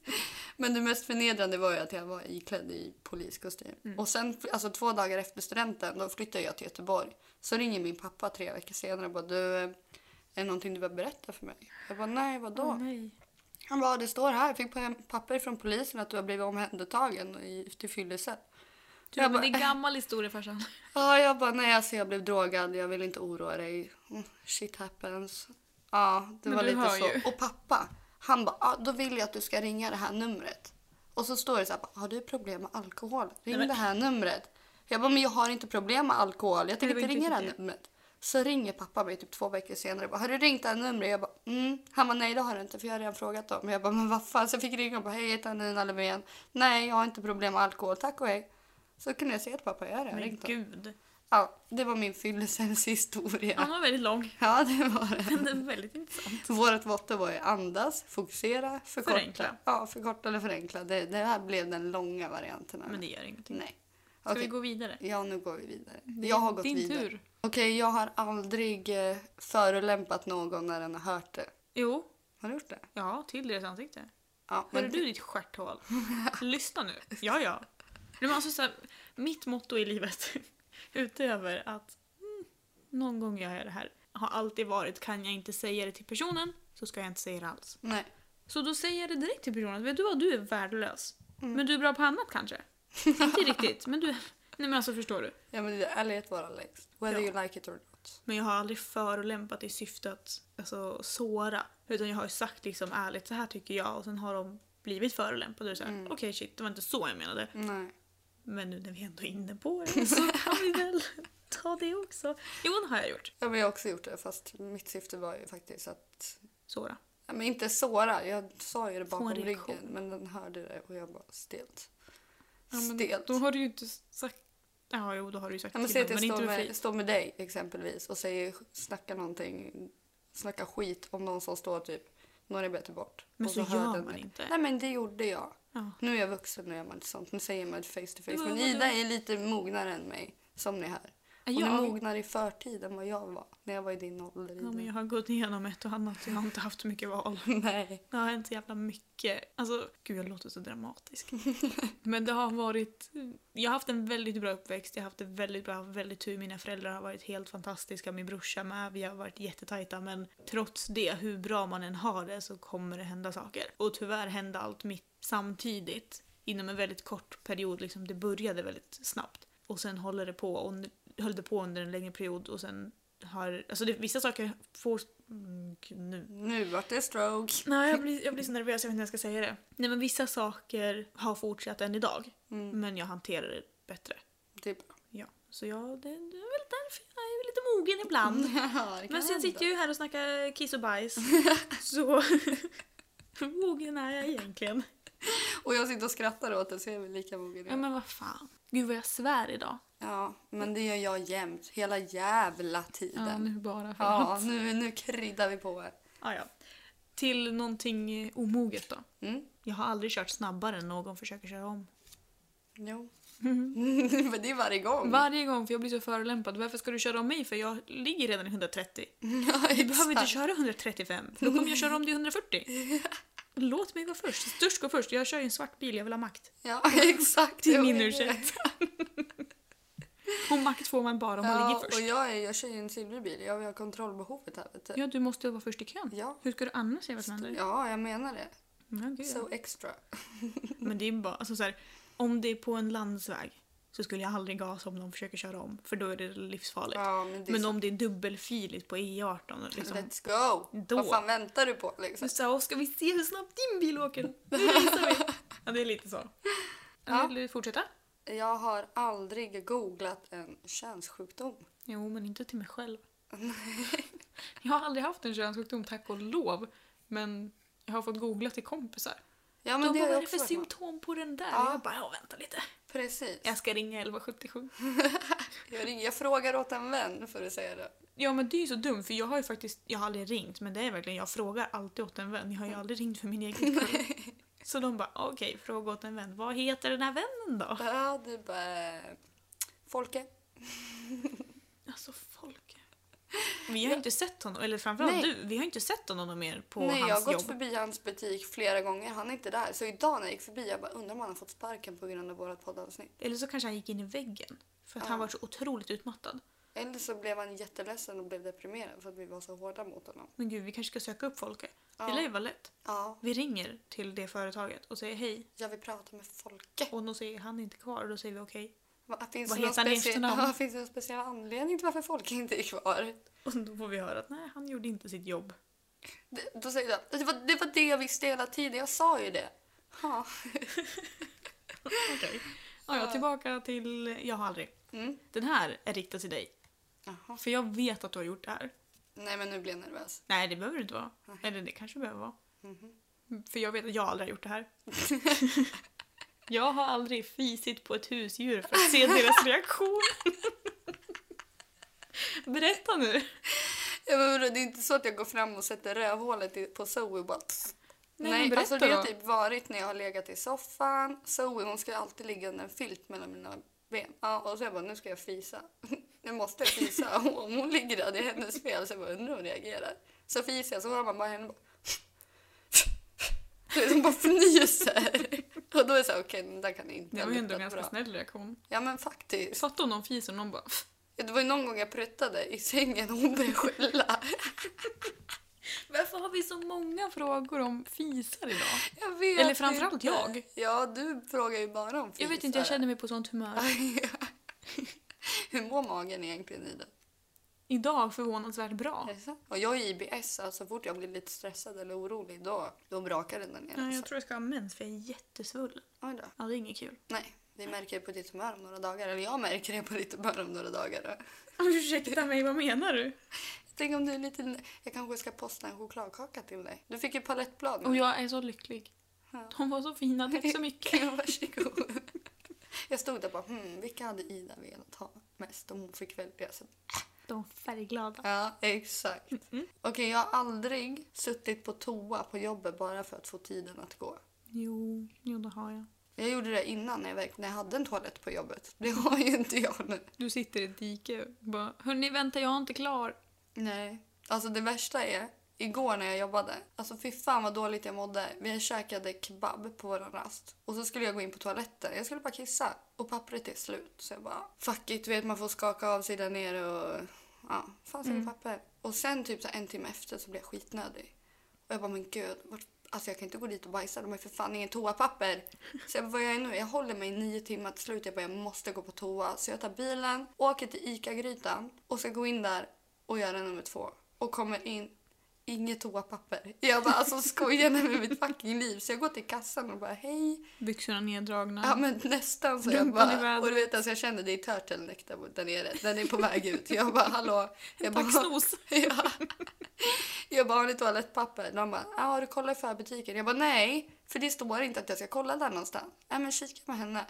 B: [laughs] Men det mest förnedrande var ju att jag var iklädd i poliskostym.
A: Mm.
B: Och sen, alltså två dagar efter studenten, då flyttade jag till Göteborg. Så ringer min pappa tre veckor senare och bara du, eh, är det någonting du vill berätta för mig? Jag bara nej, vadå?
A: Åh, nej.
B: Han bara, det står här, jag fick på- papper från polisen att du har blivit omhändertagen i, till fyllelse.
A: Du,
B: Jag
A: men
B: bara,
A: det är en gammal historia farsan.
B: Ja, jag bara nej alltså jag blev drogad, jag vill inte oroa dig. Mm, Shit happens. Ja, det
A: Men
B: var
A: du
B: lite
A: hör
B: så.
A: ju.
B: Och pappa, han bara ah, då vill jag att du ska ringa det här numret. Och så står det så här, har du problem med alkohol? Ring
A: Nej, men-
B: det här numret. Jag bara, men jag har inte problem med alkohol, jag tänker
A: var
B: inte
A: inte
B: ringa det här
A: riktigt
B: numret. Så ringer pappa mig typ två veckor senare och bara, har du ringt det här numret? Jag bara, mm. Han bara, nej det har du inte för jag har redan frågat dem. Jag bara, men vad fan. Så jag fick ringa och bara, hej jag heter Nina Löfven. Nej, jag har inte problem med alkohol, tack och hej. Så kunde jag se att pappa, jag har redan
A: Men
B: ringt dem.
A: gud.
B: Ja, det var min fyllesenshistoria.
A: Han var väldigt lång. [laughs]
B: Ja, det var det.
A: Men det är väldigt intressant.
B: Vårt motto var ju andas, fokusera, förkorta.
A: Förenkla.
B: Ja, förkorta eller förenkla. Det, det här blev den långa varianten. av
A: Men det gör ingenting.
B: Nej.
A: Ska
B: Okej.
A: vi gå vidare?
B: Ja, nu går vi vidare. Jag har gått
A: Din
B: vidare.
A: tur.
B: Okej, jag har aldrig eh, förolämpat någon när den har hört det.
A: Jo.
B: Har du gjort det?
A: Ja, till deras ansikte.
B: Ja,
A: Hörde du ditt stjärthål? Lyssna nu. Ja, ja. Nej, men alltså, så här, mitt motto i livet, [laughs] utöver att mm, någon gång gör jag det här, har alltid varit kan jag inte säga det till personen så ska jag inte säga det alls.
B: Nej.
A: Så då säger jag det direkt till personen. Vet du vad, du är värdelös. Men du är bra på annat kanske. inte riktigt, men du... Nej men alltså förstår du.
B: Ja, men det är ärlighet vara längst.
A: Ja.
B: Whether you like it or not.
A: Men jag har aldrig förolämpat i syfte att alltså, såra. Utan jag har ju sagt liksom ärligt, så här tycker jag. Och sen har de blivit förolämpade. Och så här, Okej shit, det var inte så jag menade.
B: Nej.
A: Men nu när vi ändå är inne på det så kan vi
B: [laughs]
A: väl ta det också. Jo, det har jag gjort.
B: Ja, men jag har också gjort det, fast mitt syfte var ju faktiskt att
A: Såra.
B: Ja, men inte såra, jag sa ju det
A: Få en
B: bakom
A: reaktion.
B: ryggen men den hörde det och jag bara stelt.
A: Ja, men
B: stelt.
A: Då har du ju inte sagt... Ja, jo, då har du ju sagt
B: Ja, men
A: till
B: säg att
A: dem,
B: jag
A: men
B: står
A: inte
B: med,
A: med...
B: står med dig exempelvis och säger, snackar någonting, snackar skit om någon som står typ några meter bort.
A: Men
B: och
A: så
B: hör
A: gör
B: den
A: man
B: det.
A: inte.
B: Nej men det gjorde jag.
A: Ja.
B: Nu är jag vuxen, nu gör man inte sånt. Nu säger man det face to face.
A: Men
B: Men
A: vadå?
B: Ida är lite mognare än mig, som ni hör. Hon
A: Ja.
B: är mognare i förtid än vad jag var när jag var i din ålder.
A: Ja,
B: Ida.
A: men jag har gått igenom ett och annat. Jag har inte haft så mycket val.
B: [laughs] Nej.
A: Det har hänt så jävla mycket. Alltså, gud jag låter så dramatisk. Men det har varit... Jag har haft en väldigt bra uppväxt. Jag har haft det väldigt bra, haft väldigt tur. Mina föräldrar har varit helt fantastiska. Min brorsa med. Vi har varit jättetajta. Men trots det, hur bra man än har det så kommer det hända saker. Och tyvärr hände allt mitt samtidigt. Inom en väldigt kort period. Liksom, det började väldigt snabbt. Och sen håller det på. Och höll det på under en längre period. Och sen har... Alltså det, vissa saker får... Mm, gud, nu
B: Nu vart det stroke.
A: Nej, jag blir, jag blir så nervös, jag vet inte hur jag ska säga det. Nej men vissa saker har fortsatt än idag.
B: Mm. typ.
A: Men jag hanterar det bättre.
B: Det är bra.
A: Ja. Så jag, det, det är väl därför jag är lite mogen ibland.
B: [laughs] Ja, det kan
A: Men sen
B: hända.
A: sitter jag ju här och snackar kiss och [laughs] bajs. så [laughs] hur mogen är jag egentligen?
B: Och jag sitter och skrattar åt det så jag är väl lika mogen.
A: Ja men vad fan. Gud vad jag svär idag.
B: Ja, men det gör jag jämt. Hela jävla
A: Ja,
B: tiden.
A: nu bara för
B: Ja,
A: att.
B: nu, nu kryddar vi på här.
A: Ja, ja. Till någonting eh, omoget då.
B: Mm.
A: Jag har aldrig kört snabbare än någon försöker köra om.
B: Jo.
A: Mm.
B: [laughs] men det är varje gång.
A: Varje gång, för jag blir så förolämpad. Varför ska du köra om mig? För jag ligger redan i 130.
B: [laughs] Ja,
A: Du behöver inte
B: exakt.
A: köra 135, för då kommer jag köra om dig i 140.
B: [laughs]
A: Låt mig gå först. Störst går först. Jag kör ju en svart bil, jag vill ha makt.
B: Ja, [laughs] exakt.
A: Det är
B: Jo,
A: min
B: det
A: ursäkt. Och makt får man bara om man
B: Ja,
A: ligger
B: och
A: först.
B: jag, är, jag kör ju en silverbil. Jag vill ha kontrollbehovet här. Vet du.
A: Ja, du måste vara först i kön.
B: Ja.
A: Hur ska du annars se vad som händer?
B: ja, jag menar det.
A: Ja, gud, ja.
B: So extra.
A: Men det är bara, alltså så här, om det är på en landsväg så skulle jag aldrig gasa om de försöker köra om, för då är det livsfarligt.
B: Ja, men det är
A: Men
B: så-
A: om det är dubbelfiligt på E18, liksom,
B: Let's go!
A: Då.
B: Vad fan väntar du på?
A: Så
B: Liksom?
A: sa jag, ska vi se hur snabbt din bil åker?
B: [laughs]
A: Nu visar vi. Ja, det är lite så.
B: Ja.
A: Vill du fortsätta?
B: Jag har aldrig googlat en könssjukdom.
A: Jo, men inte till mig
B: [laughs]
A: själv. jag har aldrig haft en könssjukdom, tack och lov. Men jag har fått googla till kompisar.
B: Ja,
A: De
B: men
A: bara,
B: det har
A: vad är
B: jag
A: det för
B: också varit med om.
A: symptom på den där?
B: Ja.
A: Jag bara, ja, vänta lite.
B: Precis.
A: Jag ska ringa 1177.
B: Jag, ringer, jag frågar åt en vän för att säga det.
A: Ja, men det är ju så dumt, för jag har ju faktiskt, jag har aldrig ringt, men det är verkligen, jag frågar alltid åt en vän. Jag
B: Mm.
A: har ju aldrig ringt för min egen
B: [laughs]
A: skull. Så de bara, okej, fråga åt en vän. Vad heter den här vännen då?
B: Ja, du bara... eh, Folke.
A: Alltså folk. Vi har inte sett honom, eller framförallt
B: Nej.
A: du, vi har inte sett honom mer på
B: Nej, jag har
A: hans
B: gått
A: jobb.
B: förbi hans butik flera gånger. Han är inte där. Så idag när jag gick förbi, jag bara undrar om han har fått sparken på grund av vårt poddavsnitt.
A: Eller så kanske han gick in i väggen. För att
B: Ja.
A: han var så otroligt utmattad.
B: Eller så blev han jätteledsen och blev deprimerad för att vi var så hårda mot honom.
A: Men gud, vi kanske ska söka upp Folke. Det
B: Ja.
A: lär ju vara lätt.
B: Ja,
A: Vi ringer till det företaget och säger hej.
B: jag vill prata med Folke.
A: Och då säger han inte kvar och då säger vi okej.
B: Va- Finns
A: Vad
B: det någon
A: heter han i
B: specie-
A: efternamn?
B: Ja, [laughs] finns det någon speciell anledning till varför Folke inte är kvar?
A: Och då får vi höra att nej, han gjorde inte sitt jobb.
B: Det, då säger jag, det var, det var det jag visste hela tiden, jag sa ju det. Ha.
A: Okej. Ja, ja, tillbaka till jag har aldrig.
B: Mm.
A: Den här är riktad till dig.
B: Jaha.
A: För jag vet att du har gjort det här.
B: Nej men nu blir jag nervös.
A: Nej, det behöver det inte vara.
B: Nej.
A: Eller det kanske behöver vara.
B: Mhm.
A: För jag vet att jag aldrig har gjort det här. [laughs] jag har aldrig fisit på ett husdjur för att se deras reaktion. [laughs] Berätta nu.
B: Ja, men vadå, det är inte så att jag går fram och sätter rövhålet i- på Zoe och bara... Pss.
A: Nej,
B: Nej,
A: men
B: alltså det
A: berätta
B: har
A: då.
B: typ varit när jag har legat i soffan. Zoe hon ska alltid ligga under en filt mellan mina ben. Ja, och så jag bara, nu ska jag fisa. [laughs] Nu måste jag fisa. [laughs] Och Om hon ligger där, det är hennes fel. Så jag bara, undrar hur hon reagerar. Så fiser jag, så hör man bara henne bara... [laughs] Du vet, Hon bara fnyser. [laughs] Och då är det så här, okej, den där kan inte
A: Det
B: ha
A: var ju ändå en
B: luktat
A: ganska
B: bra.
A: snäll reaktion.
B: Ja, men faktiskt.
A: Fatta om någon fiser och någon bara
B: Det var ju någon gång jag pruttade i sängen och hon började skälla.
A: Varför har vi så många frågor om fisar idag?
B: Jag vet
A: Eller framförallt
B: inte.
A: jag.
B: Ja, du frågar ju bara om
A: Jag vet inte, jag känner mig på sånt humör.
B: [laughs] Hur mår magen egentligen i det?
A: Idag förvånansvärt bra.
B: Är det så? Och jag är IBS, så så fort jag blir lite stressad eller orolig då, då brakar den där nere.
A: Nej, jag
B: Så-
A: tror jag ska ha mens för jag är jättesvullen.
B: Oj då.
A: Ja, det är inget kul.
B: Nej, vi märker det på ditt humör om några dagar. Eller jag märker det på ditt humör om några dagar.
A: [laughs]
B: Då.
A: Ursäkta mig, vad menar du?
B: Tänk om du är lite... Jag kanske ska posta en chokladkaka till dig. Du fick ju palettblad nu.
A: Och jag är så lycklig.
B: Ja.
A: De var så fina, tack så mycket.
B: [laughs] Ja, Varsågod. Jag stod där och bara, hmm, vilka hade Ida velat ha mest om hon fick välja? Så
A: De färgglada.
B: Ja, exakt. Okej, jag har aldrig suttit på toa på jobbet bara för att få tiden att gå.
A: Jo, jo det har jag.
B: Jag gjorde det innan när jag, verk- när jag hade en toalett på jobbet. Det har ju inte jag nu.
A: Du sitter i ett dike och bara “Hörni, vänta, jag är inte klar”.
B: Nej. Alltså det värsta är, igår när jag jobbade, alltså fy fan vad dåligt jag mådde. Vi käkade kebab på våran rast och så skulle jag gå in på toaletten. Jag skulle bara kissa och pappret är slut. Så jag bara, fuck it, du vet man får skaka av sig där nere och ja, fanns inget papper. Och sen typ så här en timme efter så blev jag skitnödig. Och jag bara, men gud, vart, alltså jag kan inte gå dit och bajsa, de har ju för fan ingen toapapper. Så jag bara, vad gör jag nu? Jag håller mig i nio timmar till slut, jag bara, jag måste gå på toa. Så jag tar bilen, åker till ICA-grytan och ska gå in där och göra nummer två. Och kommer in, inget toapapper. Jag bara, alltså skojar ni med mitt fucking liv? Så jag går till kassan och bara, hej.
A: Byxorna neddragna.
B: Ja men nästan så jag
A: Rumpan i
B: bara,
A: vädret.
B: och du vet alltså jag känner det är turtleneck där, där nere, den är på väg ut. Jag bara, hallå. Jag [laughs] bara,
A: Taxnos.
B: Ja. Jag bara, har ni toalettpapper? De bara, ja, har du kollat i förbutiken? Jag bara, nej, för det står inte att jag ska kolla där någonstans. Nej, men kika med henne.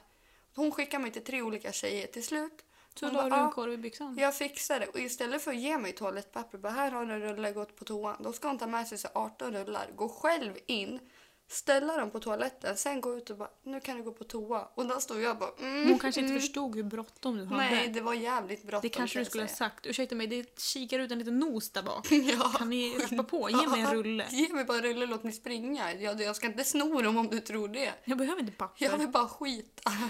B: Hon skickade mig till tre olika tjejer till slut.
A: Så
B: Hon
A: la du
B: bara,
A: en
B: "Ah,
A: korv i byxan?
B: jag fixar det. Och istället för att ge mig toalettpapper, bara här har du en rulle, gått på toan. Då ska hon ta med sig så 18 rullar, gå själv in, ställa dem på toaletten, sen gå ut och bara nu kan du gå på toa. Och där stod jag och bara mm,
A: Hon kanske inte
B: mm.
A: förstod hur bråttom du hade.
B: Nej, det var jävligt bråttom.
A: det kanske
B: kan
A: du
B: jag
A: skulle ha
B: säga.
A: sagt. Ursäkta mig, det kikar ut en liten nos där bak.
B: [laughs] Ja.
A: Kan ni hoppa på? Ge mig en rulle.
B: Ge mig bara en rulle, låt mig springa. Jag, jag ska inte sno dem om du tror det.
A: Jag behöver inte papper.
B: Jag vill bara skita. [laughs]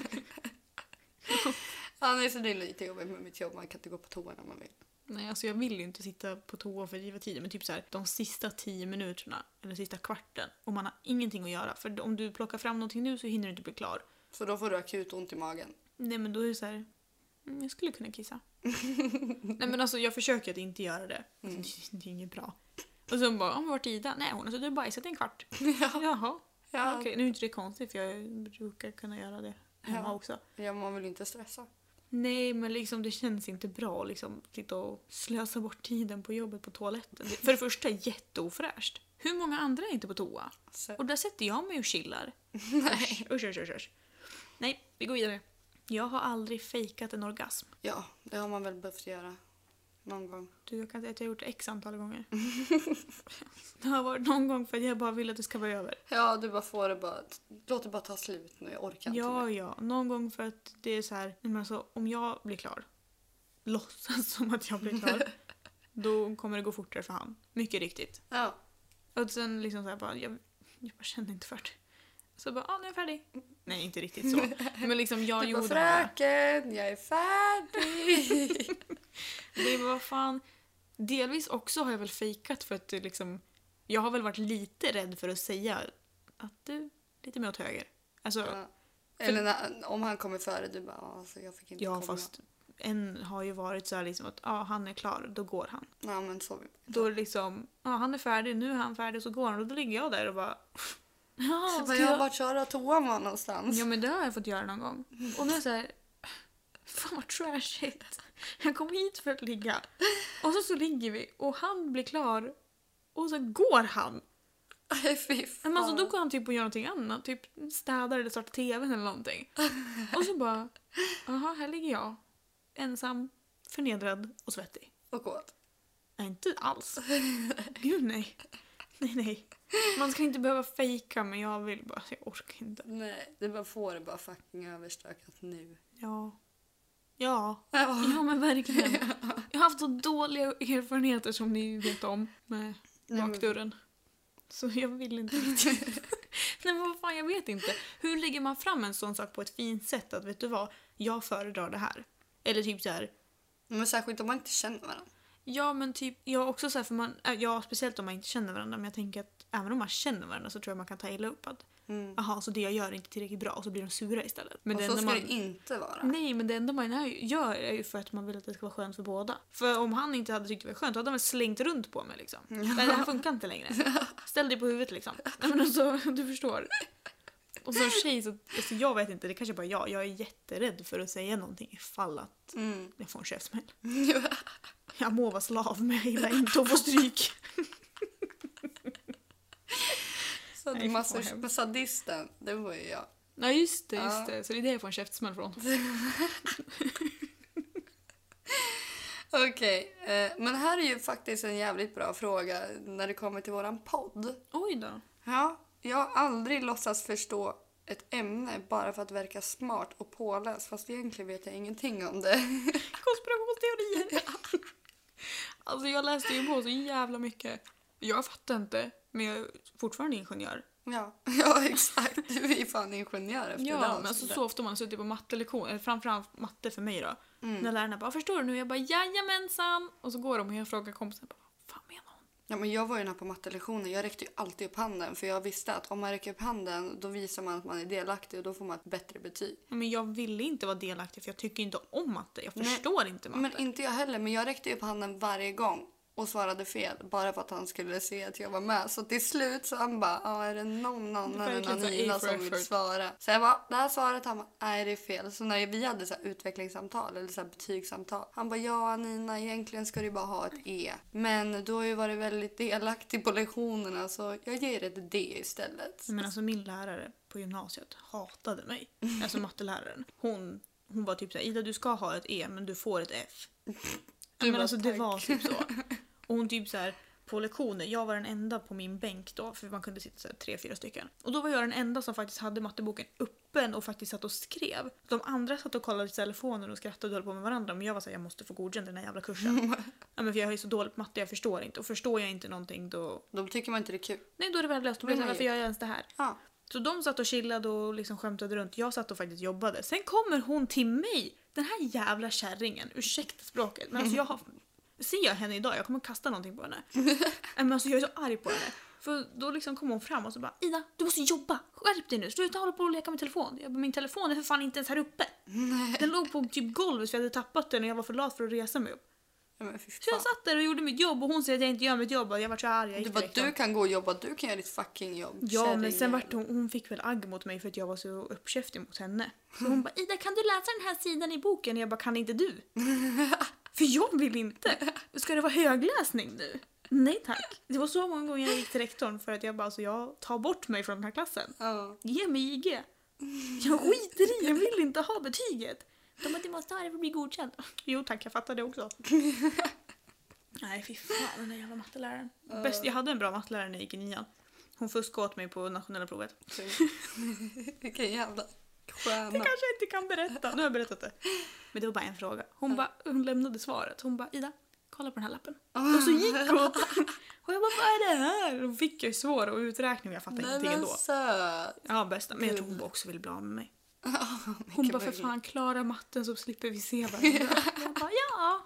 B: ja, nej, så det är lite jobbigt med mitt jobb. Man kan inte gå på toa när man vill.
A: Nej, alltså jag vill ju inte sitta på toa för giva tiden, men typ så här, de sista tio minuterna, eller sista kvarten, och man har ingenting att göra. För om du plockar fram någonting nu så hinner du inte bli klar.
B: Så då får du akut ont i magen.
A: Nej men då är det så här, mm, jag skulle kunna
B: [laughs]
A: kissa. Nej men alltså jag försöker att inte göra det. Alltså,
B: Mm.
A: [laughs] det, det är inget bra. Och sen bara, "Ja, men vart är Ida? Nej hon har suttit och bajsat i en
B: [laughs]
A: kvart. Jaha.
B: Ja,
A: Okej, nu är inte det konstigt för jag brukar kunna göra det hemma
B: Ja.
A: också.
B: ja man vill inte stressa.
A: Nej men liksom det känns inte bra att liksom, sitta och slösa bort tiden på jobbet på toaletten. Det- För det första är jätteofräscht. Hur många andra är inte på toa?
B: Så,
A: Och där sätter jag mig och
B: [laughs]
A: chillar. Nej. Usch, usch, usch, usch. Nej, vi går vidare. Jag har aldrig fejkat en orgasm.
B: ja, det har man väl behövt göra någon gång.
A: Du, jag kan säga att jag har gjort det x antal gånger. [laughs] det har varit någon gång för att jag bara vill att det ska vara över.
B: Ja, du bara får det bara. Låt det bara ta slut nu. Jag orkar inte
A: Ja,
B: mer.
A: ja. Någon gång för att det är så här, nej, men alltså, om jag blir klar, låtsas [laughs] som att jag blir
B: [laughs]
A: klar, då kommer det gå fortare för han. Mycket riktigt.
B: Ja,
A: Och sen liksom så här bara, jag, jag bara känner inte för det. Så bara, ah, nu är jag färdig. Nej, inte riktigt så.
B: [laughs]
A: Men liksom jag
B: du bara
A: gjorde det.
B: fröken, jag är färdig.
A: Det var fan... Delvis också har jag väl fejkat för att det liksom... Jag har väl varit lite rädd för att säga att du, lite mer åt höger. Alltså, [laughs] ja,
B: ja. Eller när, om han kommer före, du bara "Ja, alltså, jag fick inte komma.
A: fast en har ju varit så här liksom att ja, han är klar, då går han.
B: Ja, men så.
A: Då är det liksom, ja, han är färdig, nu är han färdig, så går han. Och då ligger jag där och bara... [laughs] Ja,
B: Så
A: ska
B: bara, jag
A: jag...
B: vart köra toan var någonstans.
A: ja men det har jag fått göra någon gång.
B: Mm.
A: Och nu är jag så här... Fan vad trashigt. Jag kom hit för att ligga. Och så, så ligger vi och han blir klar och så går han.
B: [laughs] Nej, fy
A: Men
B: fan.
A: alltså då går han typ och gör någonting annat, typ städar eller startar tvn eller någonting. Och så bara, jaha här ligger jag. Ensam, förnedrad och svettig.
B: Och åt.
A: Nej, inte alls. Gud nej. Nej nej. Man ska inte behöva fejka men jag vill bara, jag orkar inte.
B: Nej, det bara får det bara fucking överstökat nu.
A: Ja. Ja.
B: [laughs] Ja.
A: Ja men verkligen. Jag har haft så dåliga erfarenheter som ni vet om med
B: men-
A: bakdörren. Så jag vill inte riktigt.
B: [laughs]
A: [laughs] Nej men vad fan jag vet inte. Hur lägger man fram en sån sak på ett fint sätt att vet du vad, jag föredrar det här. Eller typ så här.
B: Men särskilt om man inte känner varandra.
A: ja men typ, jag också så här för man, äh, ja speciellt om man inte känner varandra men jag tänker att även om man känner varandra så tror jag man kan ta illa upp att
B: Mm.
A: jaha så det jag gör är inte tillräckligt bra och så blir de sura istället. Men
B: och
A: det
B: så
A: enda
B: ska
A: man-
B: det inte vara.
A: Nej, men det enda man är- gör är ju för att man vill att det ska vara skönt för båda. För om han inte hade tyckt det var skönt, då hade han väl slängt runt på mig liksom. Nej, det här funkar inte [laughs] längre. Ställ dig på huvudet liksom. Nej, men alltså, du förstår. Och som tjej så, alltså, jag vet inte, det kanske bara är jag. Jag är jätterädd för att säga någonting ifall att
B: Mm.
A: jag får en käftsmäll. Jag må vara slav men jag gillar inte att få [laughs] stryk.
B: Så att
A: Nej, fy fan,
B: massor
A: hemskt.
B: med sadisten, det var ju jag.
A: Nej just det,
B: Ja.
A: just det. Så det är det jag får en käftsmäll från.
B: Okej, eh, men här är ju faktiskt en jävligt bra fråga när det kommer till våran podd.
A: Oj då.
B: Ja, jag har aldrig låtsats förstå ett ämne bara för att verka smart och påläst fast egentligen vet jag ingenting om det. [laughs]
A: Konspirationsteorier. alltså jag läste ju på så jävla mycket. Jag fattar inte, men jag är fortfarande ingenjör.
B: Ja, [laughs] ja exakt. Du är ju fan ingenjör efter
A: Ja,
B: det
A: men alltså, så ofta man har suttit på mattelektion, eller framförallt matte för mig då. När lärarna bara “förstår du nu?” Jag bara “jajamensan!” Och så går de och jag frågar kompisen bara, “vad fan menar hon?”
B: Ja, men jag var ju den här på mattelektionen. Jag räckte ju alltid upp handen för jag visste att om man räcker upp handen då visar man att man är delaktig och då får man ett bättre betyg.
A: Ja, Men jag ville inte vara delaktig för jag tycker inte om matte. Jag
B: Nej,
A: förstår inte matte.
B: Men inte jag heller, men jag räckte upp handen varje gång. och svarade fel bara för att han skulle se att jag var med. Så till slut så han bara, ja är det någon annan än
A: Verkligen så här,
B: Anila
A: A for
B: som vill
A: effort.
B: svara? Så jag bara, det här svaret, han bara, nej det är fel. Så när vi hade så här utvecklingssamtal eller så här betygssamtal, han bara, ja Anina egentligen ska du bara ha ett E. Men du har ju varit väldigt delaktig på lektionerna så jag ger ett D istället.
A: Men alltså min lärare på gymnasiet hatade
B: [laughs]
A: mig. Alltså matteläraren. Hon, hon var typ såhär, Ida du ska ha ett E men du får ett
B: [laughs]
A: F.
B: Du
A: men
B: bara,
A: alltså det
B: "Tack."
A: var typ
B: [laughs]
A: så. Och hon typ såhär, på lektioner, jag var den enda på min bänk då för man kunde sitta såhär, tre, fyra stycken. Och då var jag den enda som faktiskt hade matteboken öppen och faktiskt satt och skrev. De andra satt och kollade i telefonen och skrattade och höll på med varandra men jag var såhär, jag måste få godkänt i den här jävla
B: [laughs]
A: kursen. ja, men för jag är så dålig på matte, jag förstår inte. Och förstår jag inte någonting då,
B: Då tycker man inte det är kul.
A: nej då är det värdelöst. Då blir jag
B: Men
A: såhär,
B: nej.
A: varför gör jag ens det här?
B: Ja.
A: Så de satt och chillade och liksom skämtade runt. Jag satt och faktiskt jobbade. Sen kommer hon till mig! Den här jävla kärringen. Ursäkta språket. Men alltså jag
B: [laughs]
A: har... Ser jag henne idag, jag kommer kasta någonting på henne. Nej, Men alltså jag är så arg på henne. För då liksom kom hon fram och så bara “Ida, du måste jobba! Skärp dig nu! Sluta hålla på och leka med telefon!” Jag bara “Min telefon är för fan inte ens här uppe!” Den låg på typ golvet för jag hade tappat den och jag var för lat för att resa mig upp.
B: Ja, Men fy fan.
A: Så jag satt där och gjorde mitt jobb och hon säger att jag inte gör mitt jobb och jag vart så arg. jag gick
B: Du bara,
A: direkt hem.
B: du kan gå och jobba, du kan göra ditt fucking jobb.
A: Ja, men sen
B: kärringjävel."
A: vart hon, hon fick väl agg mot mig för att jag var så uppkäftig mot henne. Så hon bara “Ida, kan du läsa den här sidan i boken?” och jag bara “Kan inte du?” För jag vill inte! Ska det vara högläsning nu? Nej tack. Det var så många gånger jag gick till rektorn för att jag bara alltså jag tar bort mig från den här klassen.
B: Ja.
A: Ge mig IG. [laughs] Jag skiter i, jag vill inte ha betyget. De bara “Du måste ha det för att bli godkänd”. [laughs] Jo tack, jag fattar det [laughs] också. Nej fy fan den där jävla matteläraren. Bäst, jag hade en bra mattelärare när jag gick i nian. Hon fuskade åt mig på nationella provet.
B: kul.
A: [laughs]
B: Vilken jävla stjärna.
A: Det kanske jag inte kan berätta. Nu har jag berättat det. Men det var bara en fråga. Hon, bara, hon lämnade svaret. Hon bara “Ida, kolla på den här lappen”. Och så gick [laughs] hon. Och jag bara “Vad är det här?” Då fick jag ju svår och uträkning och jag fattade
B: Nej
A: ingenting
B: men
A: ändå.
B: söt.
A: Ja bästa, men jag tror hon bara också ville bli av med
B: [laughs]
A: mig. Hon
B: Mycket
A: bara “För
B: möjligt.
A: fan, klara matten så slipper vi se
B: [laughs]
A: varandra”. Jag bara “Ja,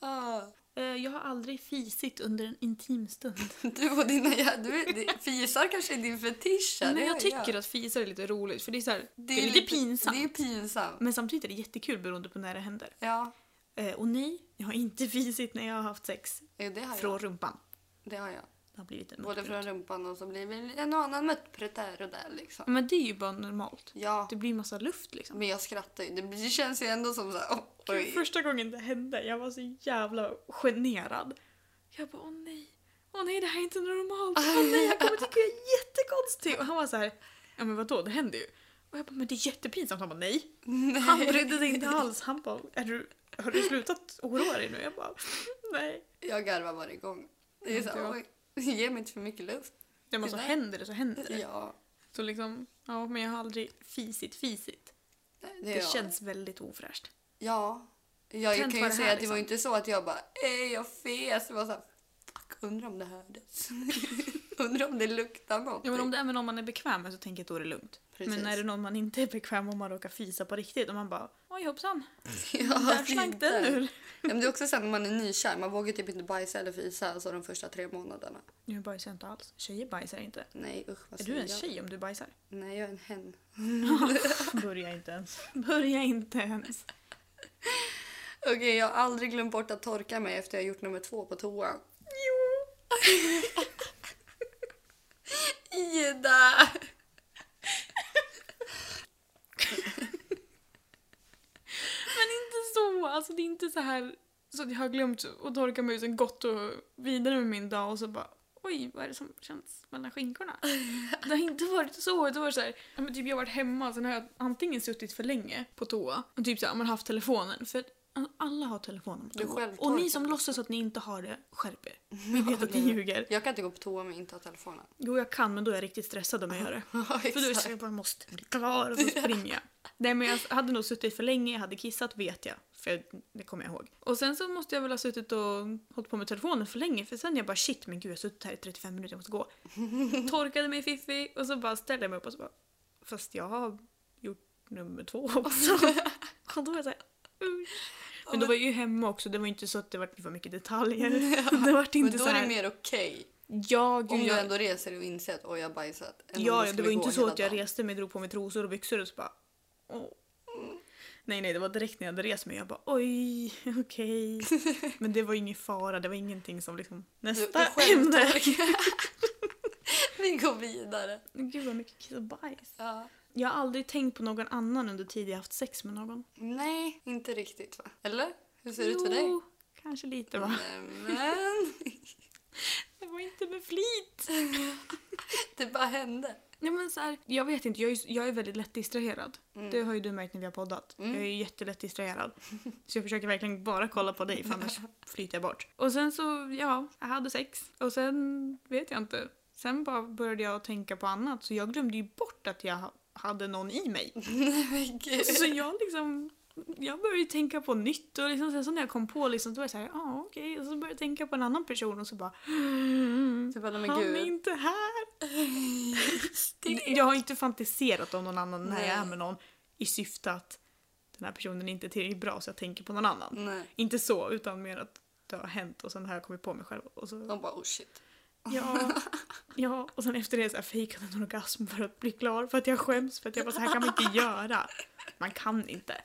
B: Ah,
A: eh, jag har aldrig fisit under en intim stund”.
B: Du och dina jä- du, det- Fisar kanske är din fetisch. här,
A: Nej,
B: det
A: jag
B: är-
A: tycker att fisa är lite roligt för det är, så här, det är, lite, pinsamt.
B: Det är pinsamt.
A: Men samtidigt är det jättekul beroende på när det händer.
B: Ja,
A: Eh, och nej, jag har inte [laughs] fisit när jag har haft sex.
B: jo, det har jag.
A: Från rumpan.
B: Det har jag.
A: Det har blivit en
B: Både
A: muttprutt.
B: från rumpan och så blir det en och annan muttprutt här och där liksom.
A: Men det är ju bara normalt.
B: Ja,
A: Det blir massa luft liksom.
B: men jag skrattar ju. Det blir- Det känns ju ändå som så här, oh,
A: Gud,
B: oj.
A: första gången det hände, jag var så jävla generad. Jag bara åh nej, åh nej det här är inte normalt, åh nej jag kommer tycka jag är jättekonstig. Och han var så här, ja men vadå det händer ju. Och jag bara men det är jättepinsamt. Han bara nej. Han brydde sig inte alls. Han bara är du, har du slutat oroa dig nu? Jag bara nej.
B: [laughs] Jag garvar varje gång. Det är så
A: Ja.
B: här, oj. Ge mig inte för mycket luft.
A: Ja men så
B: Det där-
A: händer det så händer det.
B: Ja,
A: Så liksom, ja men jag har aldrig fisit fisit.
B: det,
A: Det
B: är jag.
A: känns väldigt ofräscht.
B: Ja. Jag
A: Tänt
B: kan
A: var
B: ju
A: det
B: säga
A: här,
B: att det var
A: liksom.
B: inte så att jag bara Ej, jag fes. Det var så här, fuck, undrar om det hördes. [laughs] undrar om det luktar något.
A: Ja, men
B: [laughs]
A: om det, även om man är bekväm med så tänker jag att då är det lugnt.
B: Precis.
A: Men är det någon man inte är bekväm med och man råkar fisa på riktigt och man bara oj hoppsan,
B: ja,
A: där slank den
B: där.
A: ur.
B: Ja, men det är också så här när man är nykär. Man vågar typ inte bajsa eller fisa alltså, de första tre månaderna.
A: Nu bajsar jag inte alls. Tjejer bajsar inte.
B: Nej usch vad
A: Är du
B: säger
A: en
B: jag?
A: tjej om du [laughs] bajsar?
B: Nej jag är en hen.
A: Börja inte ens. Börja inte ens.
B: Okej jag har aldrig glömt bort att torka mig efter jag gjort nummer två på toan.
A: [laughs] Jo!
B: Ida!
A: Men inte så! Alltså det är inte så här så att jag har glömt att torka musen gott och vidare med min dag och så bara oj vad är det som känns mellan skinkorna? Det har inte varit så. Det har varit så här, ja, men typ jag har varit hemma sen har jag antingen suttit för länge på toa och typ så här, man har haft telefonen för alla har telefonen på
B: Du
A: toa.
B: självtorkar.
A: Och ni som låtsas att ni inte har det, skärp er. Vi vet att ni ljuger.
B: Jag kan inte gå på toa om jag inte har telefonen. [laughs]
A: Jo jag kan men då är jag riktigt stressad om jag gör det. För då är det så
B: Exakt.
A: jag bara måste bli klar
B: [laughs]
A: och så springer jag. Nej men jag hade nog suttit för länge, jag hade kissat vet jag. För jag, det kommer jag ihåg. Och sen så måste jag väl ha suttit och hållit på med telefonen för länge för sen jag bara shit men gud jag har suttit här i 35 minuter, jag måste
B: [laughs]
A: gå. Torkade mig fiffi och så bara ställde jag mig upp och så bara fast jag har gjort nummer två
B: [laughs]
A: också. och då var jag såhär usch. Men då var jag ju hemma också, det var ju inte så att det var för mycket
B: [laughs]
A: detaljer. Det var inte
B: Men då
A: så
B: är det
A: här,
B: mer okej.
A: ja gud
B: Om du
A: jag-
B: ändå reser dig och inser att oj jag har bajsat. Än
A: Ja,
B: om du
A: ja, det
B: skulle
A: var ju
B: gå
A: inte så
B: hela
A: att jag
B: dagen.
A: reste mig, drog på mig trosor och byxor och så bara... Åh. Nej, nej, det var direkt när jag hade rest mig. Jag bara oj, [laughs] okej. Men det var ingen fara, det var ingenting som liksom... [laughs] Nästa ämne!
B: [laughs] Vi går vidare.
A: Gud vad mycket kiss och bajs.
B: Ja.
A: Jag har aldrig tänkt på någon annan under tid jag haft sex med någon.
B: Nej, inte riktigt va? Eller? Hur ser det ut för dig?
A: Jo, Kanske lite va?
B: Men [laughs]
A: Det var inte med flit.
B: det bara hände.
A: Nej, men så här, jag vet inte, jag är, jag är väldigt lätt distraherad.
B: Mm.
A: Det har ju du märkt när vi har poddat. Jag är ju jättelätt distraherad. Så jag försöker verkligen bara kolla på dig för annars flyter jag bort. Och sen så, ja, jag hade sex. Och sen vet jag inte. Sen bara började jag tänka på annat så jag glömde ju bort att jag ha- hade någon i mig.
B: [laughs] Nej men gud.
A: Så jag liksom, jag började ju tänka på nytt och liksom, sen så när jag kom på liksom, då var jag såhär, ja ah, okej. Och så började jag tänka på en annan person och så bara,
B: Du bara,
A: han är inte här.
B: [laughs]
A: Jag har inte fantiserat om någon annan när jag är
B: Nej.
A: med någon i syfte att den här personen inte är tillräckligt bra så jag tänker på någon annan.
B: Nej.
A: Inte så, utan mer att det har hänt och sen har jag kommit på mig själv. Och så,
B: De bara oh shit.
A: ja, ja, och sen efter det så här fejkade jag en orgasm för att bli klar, för att jag skäms, för att jag bara så här kan man inte göra. Man kan inte.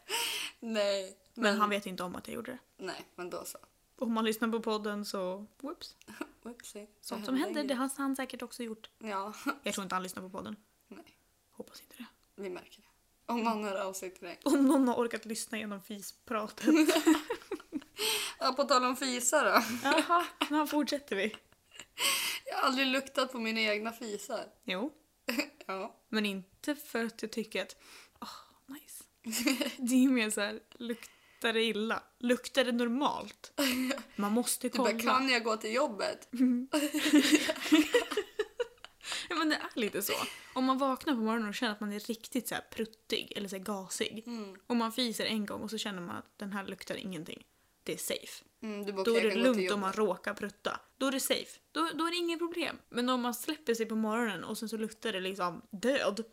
B: Nej.
A: Men han vet inte om att jag gjorde det.
B: Nej, men då så.
A: Och om man lyssnar på podden så, whoops.
B: Oopsie.
A: Sånt som händer, det har han säkert också gjort.
B: Ja, [laughs]
A: Jag tror inte han lyssnar på podden.
B: nej.
A: Hoppas inte det.
B: Vi märker det. Om någon hör av sig till dig.
A: [laughs] Om någon har orkat lyssna genom fispratet.
B: Ja, på tal om fisar då.
A: [laughs] Jaha, nu fortsätter vi.
B: Jag har aldrig luktat på mina egna fisar.
A: Jo,
B: Ja.
A: men inte för att jag tycker att åh, nice. Det är ju mer så här, luktar det illa? Luktar det normalt? Man [laughs] måste
B: Du bara,
A: kolla.
B: kan jag gå till jobbet?
A: Ja, men det är lite så. Om man vaknar på morgonen och känner att man är riktigt så här pruttig eller så här gasig.
B: Mm.
A: Om man fiser en gång och så känner man att den här luktar ingenting. Det är safe.
B: Mm, du bara,
A: Då
B: "Okej,
A: är det
B: jag kan gå till
A: lugnt om man
B: jobbet."
A: råkar prutta. Då är det safe. Då, då är det inget problem. Men om man släpper sig på morgonen och sen så luktar det liksom
B: [laughs]
A: död.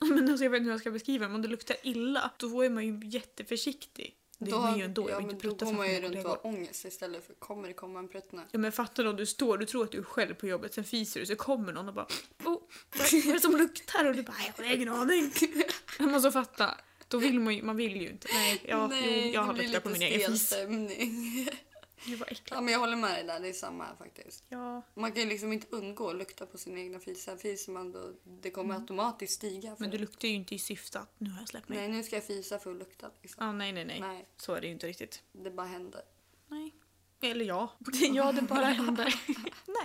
A: men alltså, jag vet inte hur jag ska beskriva det, men om det luktar illa då är man ju jätteförsiktig. Det är man ju ändå, jag
B: ja,
A: vill
B: men
A: inte prutta
B: Då går
A: framför
B: man ju
A: mina
B: runt och
A: kollegor.
B: har ångest istället för kommer det komma en pruttnö?
A: Ja, men fattar du om du står, du tror att du är själv på jobbet, sen fiser du så kommer någon och bara oh, vad är det som luktar? Och du bara jag har ingen aning.
B: [laughs]
A: Man måste fatta. Då vill man ju, man vill ju inte. Nej, jag, jo, jag har
B: det blir
A: luktat på min
B: lite
A: egen
B: stel
A: fis.
B: stämning. [laughs]
A: Gud vad
B: Ja,
A: äckligt.
B: men jag håller med dig där, det är samma här faktiskt.
A: Ja.
B: Man kan ju liksom inte undgå att lukta på sina egna fisar. Fiser man då, det kommer automatiskt stiga. För
A: Mm. Men du luktar ju inte i syfte att nu har jag släppt mig.
B: Nej, nu ska jag fisa för att lukta. Liksom.
A: Ah, nej, nej, nej,
B: Nej,
A: Så är det ju inte riktigt.
B: det bara händer.
A: Nej. Eller ja. Ja, det [laughs] bara händer.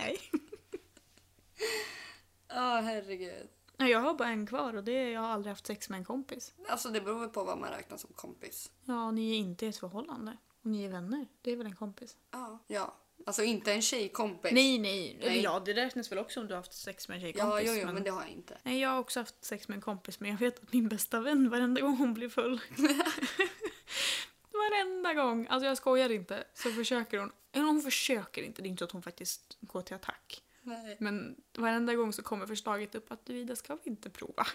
A: nej.
B: Ja, herregud.
A: Nej, Jag har bara en kvar och det är jag har aldrig haft sex med en kompis.
B: Alltså det beror väl på vad man räknar som kompis.
A: Ja, ni är inte i ett förhållande. Och ni är vänner. Det är väl en kompis?
B: Ja. Ja, alltså inte en tjejkompis.
A: Nej, nej. Eller
B: Nej.
A: Ja, det räknas väl också om du har haft sex med en tjejkompis.
B: Ja, jo, jo, men det har jag inte.
A: Nej, jag har också haft sex med en kompis men jag vet att min bästa vän varenda gång hon blir full. varenda gång. Alltså jag skojar inte. Så försöker hon. Eller hon försöker inte. Det är inte så att hon faktiskt går till attack.
B: Nej.
A: Men varenda gång så kommer förslaget upp att du Ida, ska vi inte prova?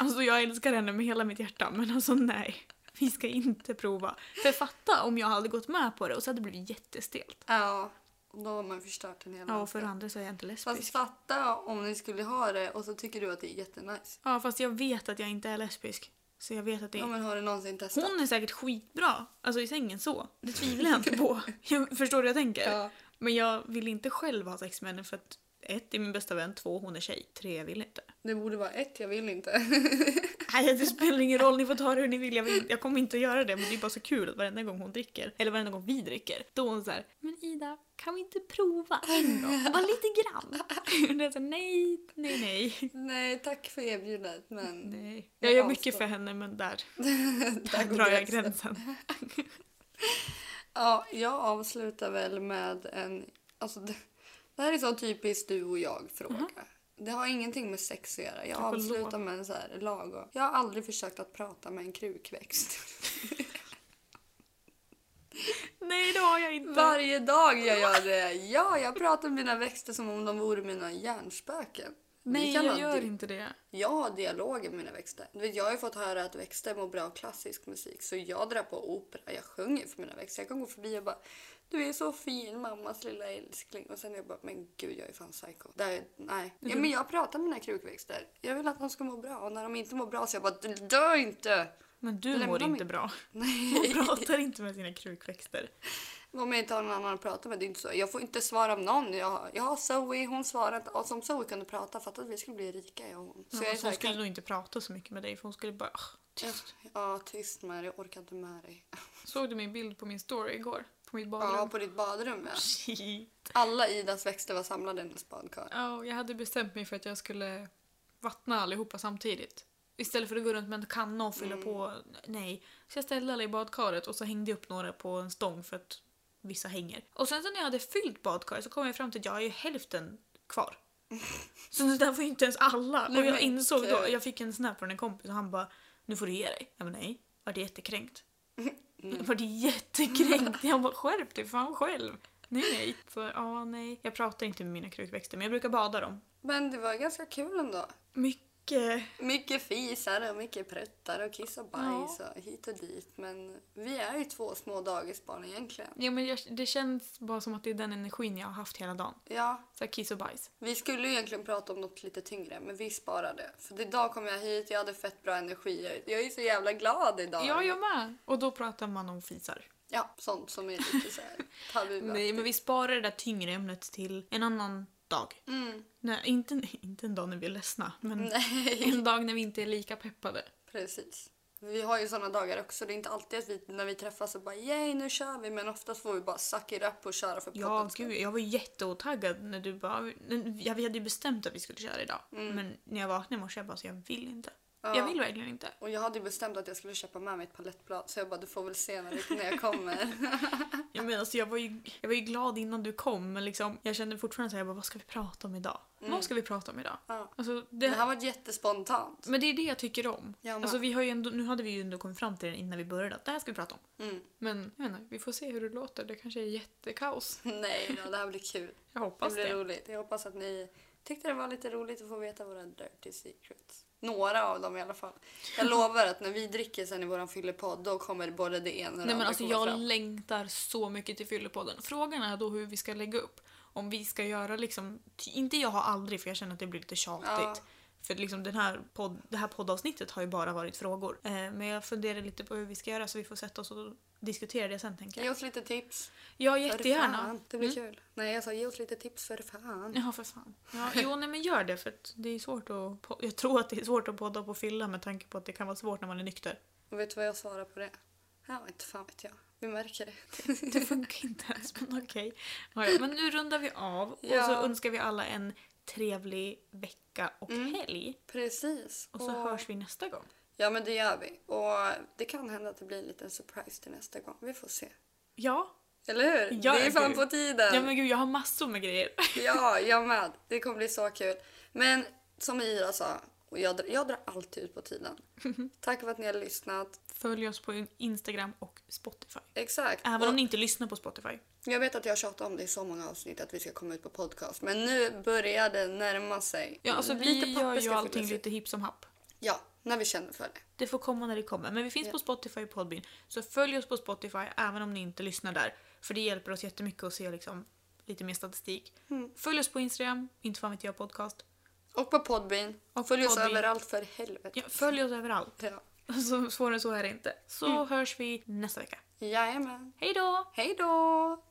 A: alltså jag älskar henne med hela mitt hjärta men alltså nej. Vi ska inte prova. För fatta om jag hade gått med på det och så hade det blivit jättestelt.
B: Ja, då har man förstört en hel
A: Ja och
B: massa.
A: för det andra så är jag inte lesbisk.
B: Fast fatta om ni skulle ha det och så tycker du att det är jättenice.
A: Ja fast jag vet att jag inte är lesbisk. Så jag vet att det
B: Ja, men har du någonsin testat?
A: Hon är säkert skitbra, alltså i sängen så. Det tvivlar jag inte [laughs] på. Jag förstår hur jag tänker.
B: Ja.
A: Men jag vill inte själv ha sex med henne för att ett, det är min bästa vän, två, hon är tjej, tre, jag vill inte.
B: Det borde vara ett, jag vill inte. [laughs]
A: Nej, det spelar ingen roll, ni får ta det hur ni vill. Jag, vill. jag kommer inte att göra det, men det är bara så kul att varenda gång hon dricker, eller varenda gång vi dricker, då är hon så här, men Ida, kan vi inte prova en [laughs] gång? Bara lite grann. Och det är så här, nej, nej, nej.
B: Nej, tack för erbjudandet men [laughs]
A: nej. Jag gör mycket för henne, men där, där
B: går
A: drar jag
B: gränsen.
A: gränsen.
B: Ja, jag avslutar väl med en... Alltså, det, det här är så typiskt du och jag-fråga. Det har ingenting med sex att göra. Jag
A: Mhm. Tack och
B: avslutar
A: lov.
B: med en så här lagom. Jag har aldrig försökt att prata med en krukväxt. [laughs]
A: Nej, det har jag inte.
B: Varje dag jag gör det. Ja, jag pratar med mina växter som om de vore mina hjärnspöken. Vi
A: Nej,
B: kan
A: jag
B: ha
A: gör
B: di-
A: inte det.
B: Jag har dialoger med mina växter. Du vet, Jag har ju fått höra att växter mår bra av klassisk musik så jag drar på opera, jag sjunger för mina växter. Jag kan gå förbi och bara du är så fin mammas lilla älskling och sen är jag bara men gud jag är fan psycho. Där, nej.
A: Mm. [laughs]
B: Ja, men jag pratar med mina krukväxter. Jag vill att de ska må bra och när de inte mår bra så jag bara dö inte!
A: Men du
B: Lämna
A: mår
B: mig.
A: inte
B: [laughs]
A: bra.
B: Nej.
A: Hon pratar inte med sina krukväxter.
B: Om jag inte har någon annan att prata med. Det är inte så. Jag får inte svara om någon. Jag, jag har Zoe, hon svarar inte. Och som Zoe kunde prata, fatta att vi skulle bli rika jag och hon. Så
A: Så
B: jag är så
A: hon
B: här,
A: skulle
B: kan,
A: nog inte prata så mycket med dig för hon skulle bara "Ugh, tyst.
B: ja tyst med dig, jag orkar inte med dig.
A: Såg du min bild på min story igår? På mitt
B: Ja,
A: badrum?
B: på ditt badrum ja.
A: Shit.
B: Alla Idas växter var samlade i hennes badkar.
A: [laughs] Ja, och jag hade bestämt mig för att jag skulle vattna allihopa samtidigt. Istället för att gå runt med en kanna och fylla på.
B: Mm.
A: Nej. Så jag ställde alla i badkaret och så hängde jag upp några på en stång för att vissa hänger. Och sen så när jag hade fyllt badkaret så kom jag fram till att jag har ju hälften
B: [laughs]
A: kvar. Så det där var ju inte ens alla.
B: Nej,
A: Och jag
B: men
A: insåg då,
B: gud.
A: jag fick en snap från en kompis och han bara “Nu får du ge dig”. Jag bara nej. Vart
B: [laughs]
A: jättekränkt. Jag vart jättekränkt. Jag bara skärp dig fan själv. Nej nej. Så ja nej. Jag pratar inte med mina krukväxter men jag brukar bada dem.
B: Men det var ganska kul ändå.
A: Mycket.
B: Mycket fisar och mycket pruttar och kiss och bajs och hit och dit. Men vi är ju två små dagisbarn egentligen.
A: Ja, men jag, det känns bara som att det är den energin jag har haft hela dagen.
B: Ja,
A: Så här kiss och bajs.
B: Vi skulle ju egentligen prata om något lite tyngre, men vi sparar det. För idag kom jag hit, jag hade fett bra energi. Jag- Jag är så jävla glad idag.
A: Ja, jag med. Och då pratar man om fisar.
B: Ja, sånt som är lite
A: [laughs]
B: så här tabubelagt.
A: Nej, men vi sparar det där tyngre ämnet till en annan dag.
B: Mm,
A: Nej, inte, [laughs] inte en dag när vi är ledsna, men
B: nej, [laughs]
A: en dag när vi inte är lika peppade.
B: precis. Vi har ju såna dagar också. Det är inte alltid att vi när vi träffas så bara yay, nu kör vi. Men oftast får vi bara suck it up och köra för
A: Ja,
B: poddens skull.
A: gud, jag var jätteotaggad när du bara... Ja, vi hade ju bestämt att vi skulle köra idag. Men när jag vaknade i morse, jag bara så jag vill inte.
B: Ja.
A: Jag vill verkligen inte.
B: Och jag hade ju bestämt att jag skulle köpa med mig ett palettblad så jag bara du får väl se när, när
A: [laughs]
B: jag kommer.
A: Jag, menar, alltså, jag, var ju, jag var ju glad innan du kom, men liksom, jag kände fortfarande så här, jag bara, vad ska vi prata om idag? Vad ska vi prata om idag?
B: Ja.
A: Alltså,
B: Det
A: Mm. det,
B: här var jättespontant.
A: men det är det jag tycker om.
B: Jag med.
A: Alltså, vi har ju ändå, nu hade vi ju ändå kommit fram till det innan vi började, att det här ska vi prata om.
B: Mm. [laughs]
A: Men jag vet inte, vi får se hur det låter. Det kanske är jättekaos.
B: Nej då, det här blir kul.
A: Jag hoppas
B: det
A: det.
B: blir roligt. Jag hoppas att ni tyckte det var lite roligt att få veta våra dirty secrets. Några av dem i alla fall.
A: [laughs]
B: Jag lovar att när vi dricker sen i våran fyllepodd då kommer både det ena och det
A: Nej, men
B: andra
A: alltså,
B: komma
A: jag
B: fram.
A: längtar så mycket till Fyllepodden. Frågan är då hur vi ska lägga upp. Om vi ska göra liksom, ty- inte jag har aldrig för jag känner att det blir lite tjatigt.
B: Ja.
A: För liksom den här podd, det här poddavsnittet har ju bara varit frågor. Eh, men jag funderar lite på hur vi ska göra så vi får sätta oss och diskutera det sen tänker jag.
B: Ge oss lite tips.
A: Ja,
B: För
A: jättegärna. Mm.
B: fan, Det blir kul. Nej, jag sa ge oss lite tips för fan.
A: Ja, för fan. Ja, jo, nej, men gör det för att det är svårt att... po- Jag tror att det är svårt att podda på fylla med tanke på att det kan vara svårt när man är nykter.
B: Och vet du vad jag svarar på det? Ja, inte fan vet jag. Vi märker det. [laughs]
A: Det [laughs] funkar inte ens, men okej. Ja, ja, Men nu rundar vi av och så
B: Ja.
A: önskar vi alla en trevlig vecka och
B: Mm.
A: helg.
B: Precis.
A: Och så
B: Och-
A: hörs vi nästa gång.
B: Ja, men det gör vi. Och det kan hända att det blir en liten surprise till nästa gång. Vi får se.
A: Ja.
B: Eller hur?
A: Ja,
B: det är fan
A: gud.
B: på tiden.
A: ja, men gud jag har massor med grejer.
B: Ja, jag med. Det kommer bli så kul. Men som Ira sa, och jag, drar- jag drar alltid ut på tiden. Tack för att ni har lyssnat.
A: Följ oss på Instagram och Spotify.
B: Exakt.
A: Även
B: Och
A: om ni inte lyssnar på Spotify.
B: Jag vet att jag har tjatat om det i så många avsnitt att vi ska komma ut på podcast. Men nu börjar det närma sig.
A: Ja, alltså, vi
B: Mm. Lite papper
A: gör ju
B: ska
A: allting
B: fyllas i.
A: lite hipp som happ.
B: Ja, när vi känner för det.
A: Det får komma när det kommer. Men vi finns på Spotify och Podbean. Så följ oss på Spotify även om ni inte lyssnar där. För det hjälper oss jättemycket att se liksom, lite mer statistik.
B: Mm.
A: Följ oss på Instagram, inte fan vet jag podcast.
B: Och på Podbean.
A: Och
B: Följ oss
A: Podbean.
B: överallt för helvete.
A: Ja, följ oss överallt. [laughs]
B: Ja.
A: Så svårare än så är det inte. Så hörs vi nästa vecka.
B: Jajamän.
A: Hej då!
B: Hej då!